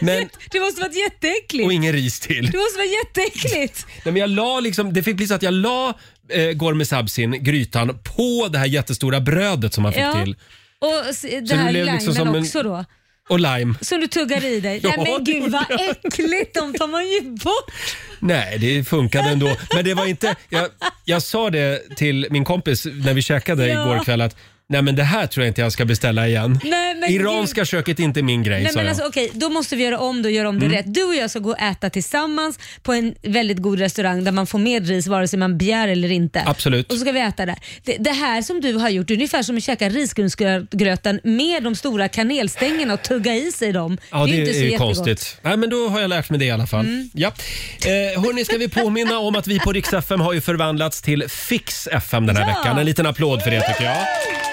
S1: Men,
S2: Det måste varit jätteäckligt.
S1: och ingen ris till.
S2: Det måste vara jätteäckligt.
S1: Nej, men jag la liksom, det fick bli så att jag la eh, Gorme Sabzin, grytan, på det här jättestora brödet som man fick till.
S2: Och s- det
S1: Så det
S2: här
S1: blev
S2: limen
S1: liksom som en-
S2: också då.
S1: Och lime.
S2: Som du tuggar i dig.
S1: Ja,
S2: Nej men
S1: det
S2: gud vad äckligt, de tar man ju bort.
S1: Nej, det funkade ändå. Men det var inte... Jag, jag sa det till min kompis när vi käkade
S2: Ja.
S1: igår kväll att Nej men det här tror jag inte jag ska beställa igen.
S2: Nej, men
S1: Iranska köket är inte min grej
S2: Nej,
S1: sa
S2: men
S1: jag.
S2: alltså, okej, då måste vi göra om det och göra om det
S1: Mm.
S2: rätt. Du och jag ska gå och äta tillsammans på en väldigt god restaurang där man får med ris vare sig man begär eller inte.
S1: Absolut.
S2: Och så ska vi äta där. Det, det här som du har gjort, det är ungefär som att käka risgrynsgröten med de stora kanelstängerna och tugga i sig dem.
S1: Ja, det,
S2: ju
S1: är,
S2: inte så
S1: ju
S2: jättegott.
S1: konstigt. Nej, men då har jag lärt mig det i alla fall.
S2: Mm.
S1: Ja. Eh, hörni, ska vi påminna om att vi på Rix FM har ju förvandlats till Fix FM den här
S8: Ja.
S1: veckan. En liten applåd för det tycker jag.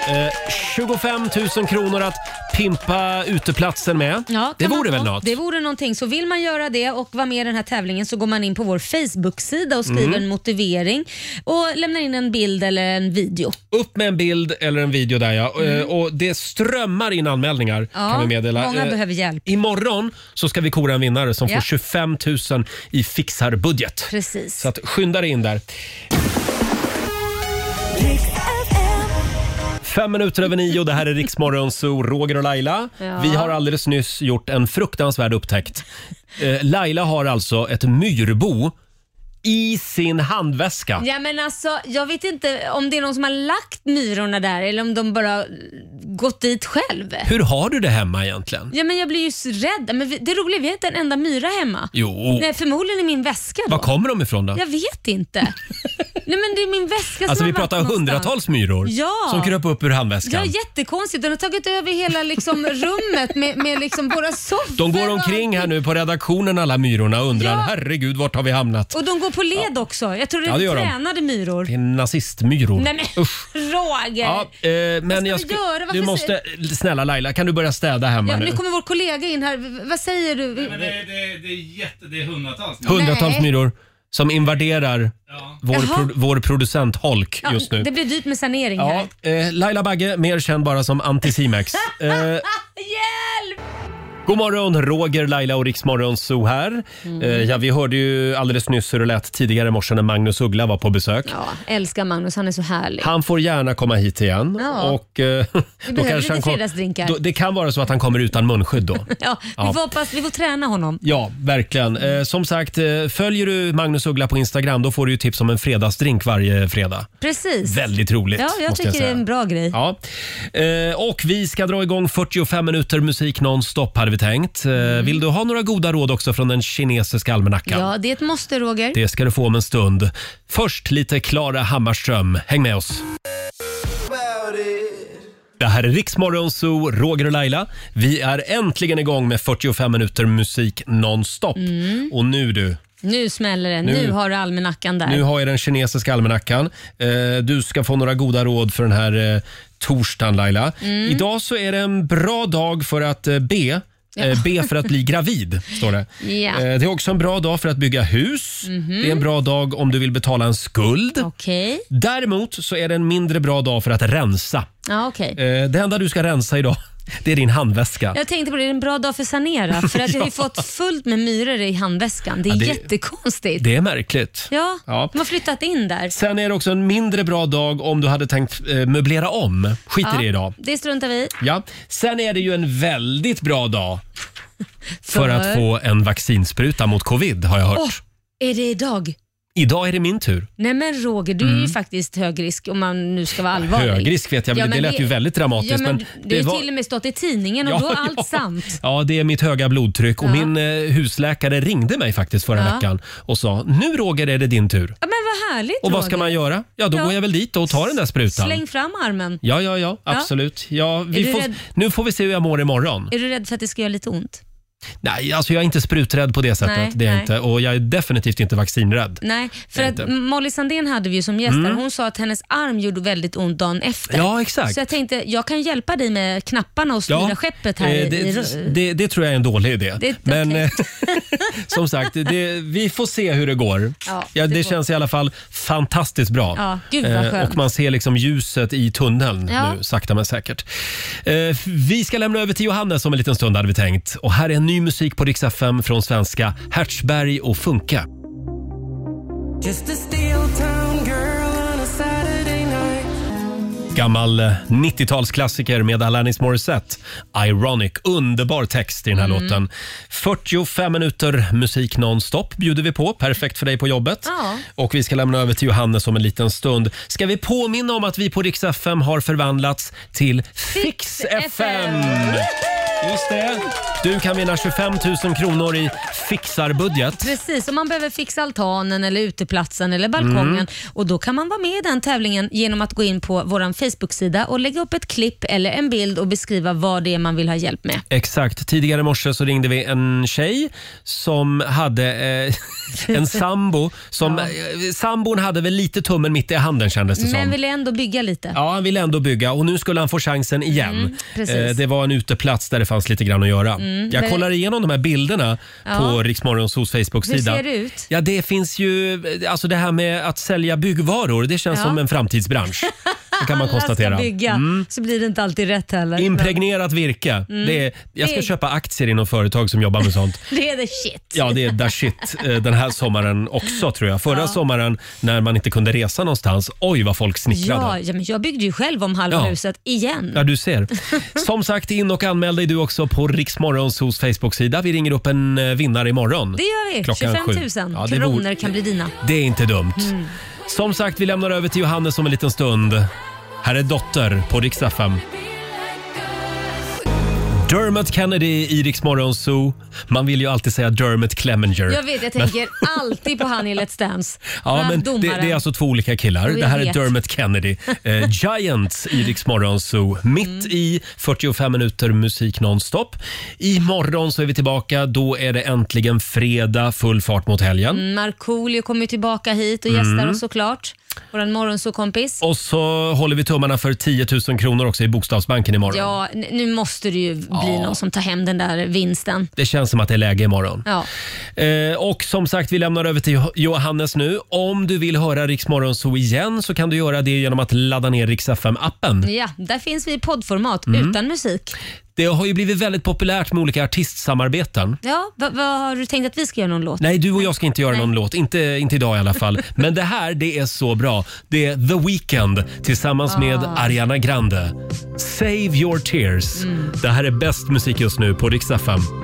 S1: Eh, 25 000 kronor att pimpa uteplatsen med.
S2: Ja,
S1: det
S2: kan man
S1: vore väl
S2: få.
S1: något?
S2: Det vore någonting. Så vill man göra det och vara med i den här tävlingen så går man in på vår Facebook-sida och skriver
S1: Mm.
S2: en motivering och lämnar in en bild eller en video.
S1: Upp med en bild eller en video där ja. Eh, Och det strömmar in anmälningar kan vi meddela.
S2: Mm. Många
S1: Eh,
S2: behöver hjälp.
S1: Imorgon så ska vi kora en vinnare som
S2: Ja.
S1: får 25 000 i fixarbudget.
S2: Precis.
S1: Så att skynda dig in där. Fem minuter över nio, det här är Riksmorgon Zoo, Roger och Laila.
S8: Ja.
S1: Vi har alldeles nyss gjort en fruktansvärd upptäckt. Eh, Laila har alltså ett myrbo i sin handväska.
S2: Ja, men alltså, jag vet inte om det är någon som har lagt myrorna där eller om de bara gått dit själv.
S1: Hur har du det hemma egentligen?
S2: Ja, men jag blir ju så rädd. Men vi- det roliga är att vi har inte en enda myra hemma.
S1: Jo,
S2: Nej, förmodligen i min väska då.
S1: var kommer de ifrån då?
S2: Jag vet inte. Nej, men det är min väska som
S1: Alltså
S2: har
S1: vi
S2: varit
S1: pratar hundratals myror
S2: Ja.
S1: som kröp upp ur
S2: Ja,
S1: handväskan.
S2: jättekonstigt. Den har tagit över hela liksom, rummet med, med liksom våra soffor.
S1: De går omkring här nu på redaktionen alla myrorna och undrar
S2: Ja.
S1: herregud vart har vi hamnat?
S2: Och de går på led också. Jag tror det,
S1: Ja, det gör de.
S2: tränade myror.
S1: Det är nazistmyror.
S2: Nej men Roger!
S1: Ja, eh, men
S2: vi
S1: jag
S2: göra?
S1: ska, du
S2: Varför
S1: måste, snälla Laila, kan du börja städa hemma
S2: Ja,
S1: nu?
S2: nu kommer vår kollega in här. V- Vad säger du?
S18: Det är jätte, det är hundratals.
S1: Hundratals
S2: Nej.
S1: myror som invaderar vår,
S2: Jaha.
S1: pro, vår producent Holk
S2: Ja,
S1: just nu.
S2: Det blir dyrt med sanering
S1: Ja,
S2: här.
S1: eh, Laila Bagge, mer känd bara som Anticimex. eh, God morgon, Roger, Laila och Riksmorgon Zoo här.
S2: Mm.
S1: Eh, ja, vi hörde ju alldeles nyss hur det lät tidigare i morse när Magnus Uggla var på besök.
S2: Ja, älskar Magnus, han är så härlig.
S1: Han får gärna komma hit igen.
S2: Ja.
S1: Och, eh,
S2: Vi
S1: då
S2: behöver
S1: kanske
S2: lite
S1: han kom,
S2: fredagsdrinkar.
S1: då, det kan vara så att han kommer utan munskydd då.
S2: Ja, vi,
S1: Ja.
S2: Får hoppas, vi får träna honom.
S1: Ja, verkligen.
S2: Mm.
S1: Eh, som sagt, eh, följer du Magnus Uggla på Instagram då får du ju tips om en fredagsdrink varje fredag.
S2: Precis.
S1: Väldigt roligt,
S2: Ja, jag
S1: måste
S2: tycker
S1: jag
S2: det
S1: säga.
S2: är en bra grej.
S1: Ja. Eh, och vi ska dra igång 45 minuter musik nonstop här vi tänkt. Eh, Vill du ha några goda råd också från den kinesiska almanackan?
S2: Mm. Ja, det är ett måste Roger.
S1: Det ska du få om en stund. Först lite Klara Hammarström. Häng med oss. Det här är Riksmorgon Zoo, Roger och Laila. Vi är äntligen igång med 45 minuter musik nonstop. Och nu du,
S2: Nu smäller det. Nu,
S1: Nu-
S2: har du almanackan där.
S1: nu har jag den kinesiska almanackan. Eh, Du ska få några goda råd för den här eh, torsdagen Laila.
S2: Mm.
S1: Idag så är det en bra dag för att eh, be.
S2: Ja.
S1: Eh, Be för att bli gravid, står det.
S2: Ja.
S1: Eh, Det är också en bra dag för att bygga hus.
S2: Mhm.
S1: Det är en bra dag om du vill betala en skuld.
S2: Okej.
S1: Däremot så är det en mindre bra dag för att rensa.
S2: Ja, okej.
S1: Eh, Det enda du ska rensa idag, det är din handväska.
S2: Jag tänkte på det, det är en bra dag för att sanera. För att jag har ju
S1: Ja.
S2: fått fullt med myror i handväskan. Det är
S1: Ja, det-
S2: jättekonstigt.
S1: Det är märkligt.
S2: Ja,
S1: Ja.
S2: de har flyttat in där.
S1: Sen är det också en mindre bra dag om du hade tänkt eh, möblera om. Skit i
S2: ja,
S1: det idag.
S2: Det struntar vi i.
S1: Ja. Sen är det ju en väldigt bra dag för,
S2: För?
S1: att få en vaccinspruta mot covid har jag hört.
S2: Åh, är det idag?
S1: Idag är det min tur.
S2: Nej men Roger, du är ju faktiskt hög risk om man nu ska vara allvarlig.
S1: Högrisk Mm. vet jag, men det lät ju väldigt dramatiskt,
S2: Ja, men
S1: men
S2: det har
S1: det
S2: ju
S1: var-
S2: till och med stått i tidningen och
S1: Ja,
S2: då är
S1: ja.
S2: allt sant.
S1: Ja, det är mitt höga blodtryck och
S2: Ja.
S1: min eh, husläkare ringde mig faktiskt förra
S2: Ja.
S1: veckan och sa nu Roger är det din tur.
S2: Ja, men vad härligt
S1: Och vad ska
S2: Roger.
S1: man göra? Ja, då
S2: Ja.
S1: går jag väl dit och tar den där sprutan.
S2: Släng fram armen.
S1: Ja, ja, ja,
S2: Ja.
S1: absolut. Ja, vi
S2: du
S1: får,
S2: rädd?
S1: nu får vi se hur jag mår imorgon.
S2: Är du rädd för att det ska göra lite ont?
S1: Nej, alltså jag är inte spruträdd på det sättet.
S2: Nej,
S1: det är jag
S2: nej.
S1: inte. Och jag är definitivt inte vaccinrädd.
S2: Nej, för
S1: Nej,
S2: att
S1: inte.
S2: Molly Sandén hade vi ju som gäst
S1: Mm.
S2: där. Hon sa att hennes arm gjorde väldigt ont dagen efter.
S1: Ja, exakt.
S2: Så jag tänkte, jag kan hjälpa dig med knapparna och styra skeppet här.
S1: eh,
S2: i- i,
S1: det, det, det tror jag är en dålig idé.
S2: Det-
S1: Men eh, som sagt, det, vi får se hur det går.
S2: Ja,
S1: det
S2: det går.
S1: känns i alla fall fantastiskt bra.
S2: Ja, gud vad
S1: Eh,
S2: skönt.
S1: och man ser liksom ljuset i tunneln
S2: Ja.
S1: nu, sakta men säkert. Eh, vi ska lämna över till Johannes om en liten stund hade vi tänkt. Och här är ny musik på Rix FM från svenska Hertzberg och Funke.
S8: Just a steel town girl on a Saturday night.
S1: Gammal eh, 90-talsklassiker med Alanis Morissette. Ironic. Underbar text i den här
S8: Mm.
S1: låten. 45 minuter musik nonstop bjuder vi på. Perfekt för dig på jobbet.
S8: Ja.
S1: Och Vi ska lämna över till Johannes om en liten stund. Ska vi påminna om att vi på Rix FM har förvandlats till Fix FM? Just det. Du kan vinna 25 000 kronor i fixarbudget.
S2: Precis, om man behöver fixa altanen eller uteplatsen eller balkongen.
S1: Mm.
S2: Och Då kan man vara med i den tävlingen genom att gå in på vår Facebook-sida och lägga upp ett klipp eller en bild och beskriva vad det är man vill ha hjälp med.
S1: Exakt. Tidigare i morse så ringde vi en tjej som hade eh, en sambo. Som, eh, Sambon hade väl lite tummen mitt i handen kändes det
S2: Men
S1: som.
S2: vill jag ändå bygga lite.
S1: Ja, han ville ändå bygga och nu skulle han få chansen igen.
S2: Mm, precis.
S1: Eh, det var en uteplats där det fanns lite grann att göra.
S2: Mm,
S1: Jag
S2: men-
S1: kollar igenom de här bilderna
S2: Ja.
S1: på Riksmorgonsos Facebook-sida.
S2: Hur ser det ut?
S1: Ja, det finns ju, alltså det här med att sälja byggvaror, det känns
S2: Ja.
S1: som en framtidsbransch. Det kan man
S2: Alla
S1: konstatera.
S2: ska bygga,
S1: Mm.
S2: så blir det inte alltid rätt heller.
S1: Impregnerat virke.
S2: Mm.
S1: Det är, jag ska
S2: Det-
S1: köpa aktier i något företag som jobbar med sånt.
S2: Men Det är the shit.
S1: Ja, det är där shit eh, den här sommaren också tror jag. Förra
S2: Ja.
S1: sommaren när man inte kunde resa någonstans, oj vad folk snickrade.
S2: Ja, ja, men jag byggde ju själv om halva
S1: Ja.
S2: huset igen.
S1: Ja, du ser. Som sagt, in och anmäl dig du också på Riksmorgons hos Facebook-sida. Vi ringer upp en eh, vinnare imorgon.
S2: Det gör vi.
S1: Klockan
S2: 25 000
S1: sju. Ja, det,
S2: kronor
S1: vore-
S2: kan bli dina.
S1: det är inte dumt.
S2: Mm.
S1: Som sagt, vi lämnar över till Johannes om en liten stund. Här är Dotter på riksdag 5. Dermot Kennedy i Rix Morgon Zoo. Man vill ju alltid säga Dermot Clemenger.
S2: Jag vet, jag
S1: Men-
S2: tänker alltid på han i Let's Dance.
S1: Ja,
S2: Han
S1: men det,
S2: domaren.
S1: det är alltså två olika killar.
S2: Jo, jag
S1: Det här är
S2: vet.
S1: Dermot Kennedy. Eh, Giants i Rix Morgon Zoo. Mitt
S2: Mm.
S1: i 45 minuter musik nonstop. Imorgon så är vi tillbaka. Då är det äntligen fredag, full fart mot helgen.
S2: Mm, Markoolio kommer ju tillbaka hit och gästar
S1: Mm.
S2: oss såklart. Vår morgonsåkompis.
S1: Och så håller vi tummarna för 10 000 kronor också i Bokstavsbanken imorgon.
S2: Ja, n- nu måste det ju bli någon som tar hem den där vinsten.
S1: Det känns som att det är läge imorgon.
S2: Ja.
S1: Eh, och som sagt, vi lämnar över till Jo- Johannes nu. Om du vill höra Rix Morgon Zoo igen så kan du göra det genom att ladda ner Rix FM-appen.
S2: ja, där finns vi i poddformat
S1: Mm.
S2: utan musik.
S1: Det har ju blivit väldigt populärt med olika artistsamarbeten.
S2: Ja, vad vad har du tänkt att vi ska göra någon låt?
S1: Nej, du och jag ska inte göra någon låt. Inte, inte idag i alla fall. Men det här, det är så bra. Det är The Weeknd tillsammans
S2: Ah.
S1: med
S2: Mm.
S1: Ariana Grande. Save your tears. Det här är bäst musik just nu på Rix FM.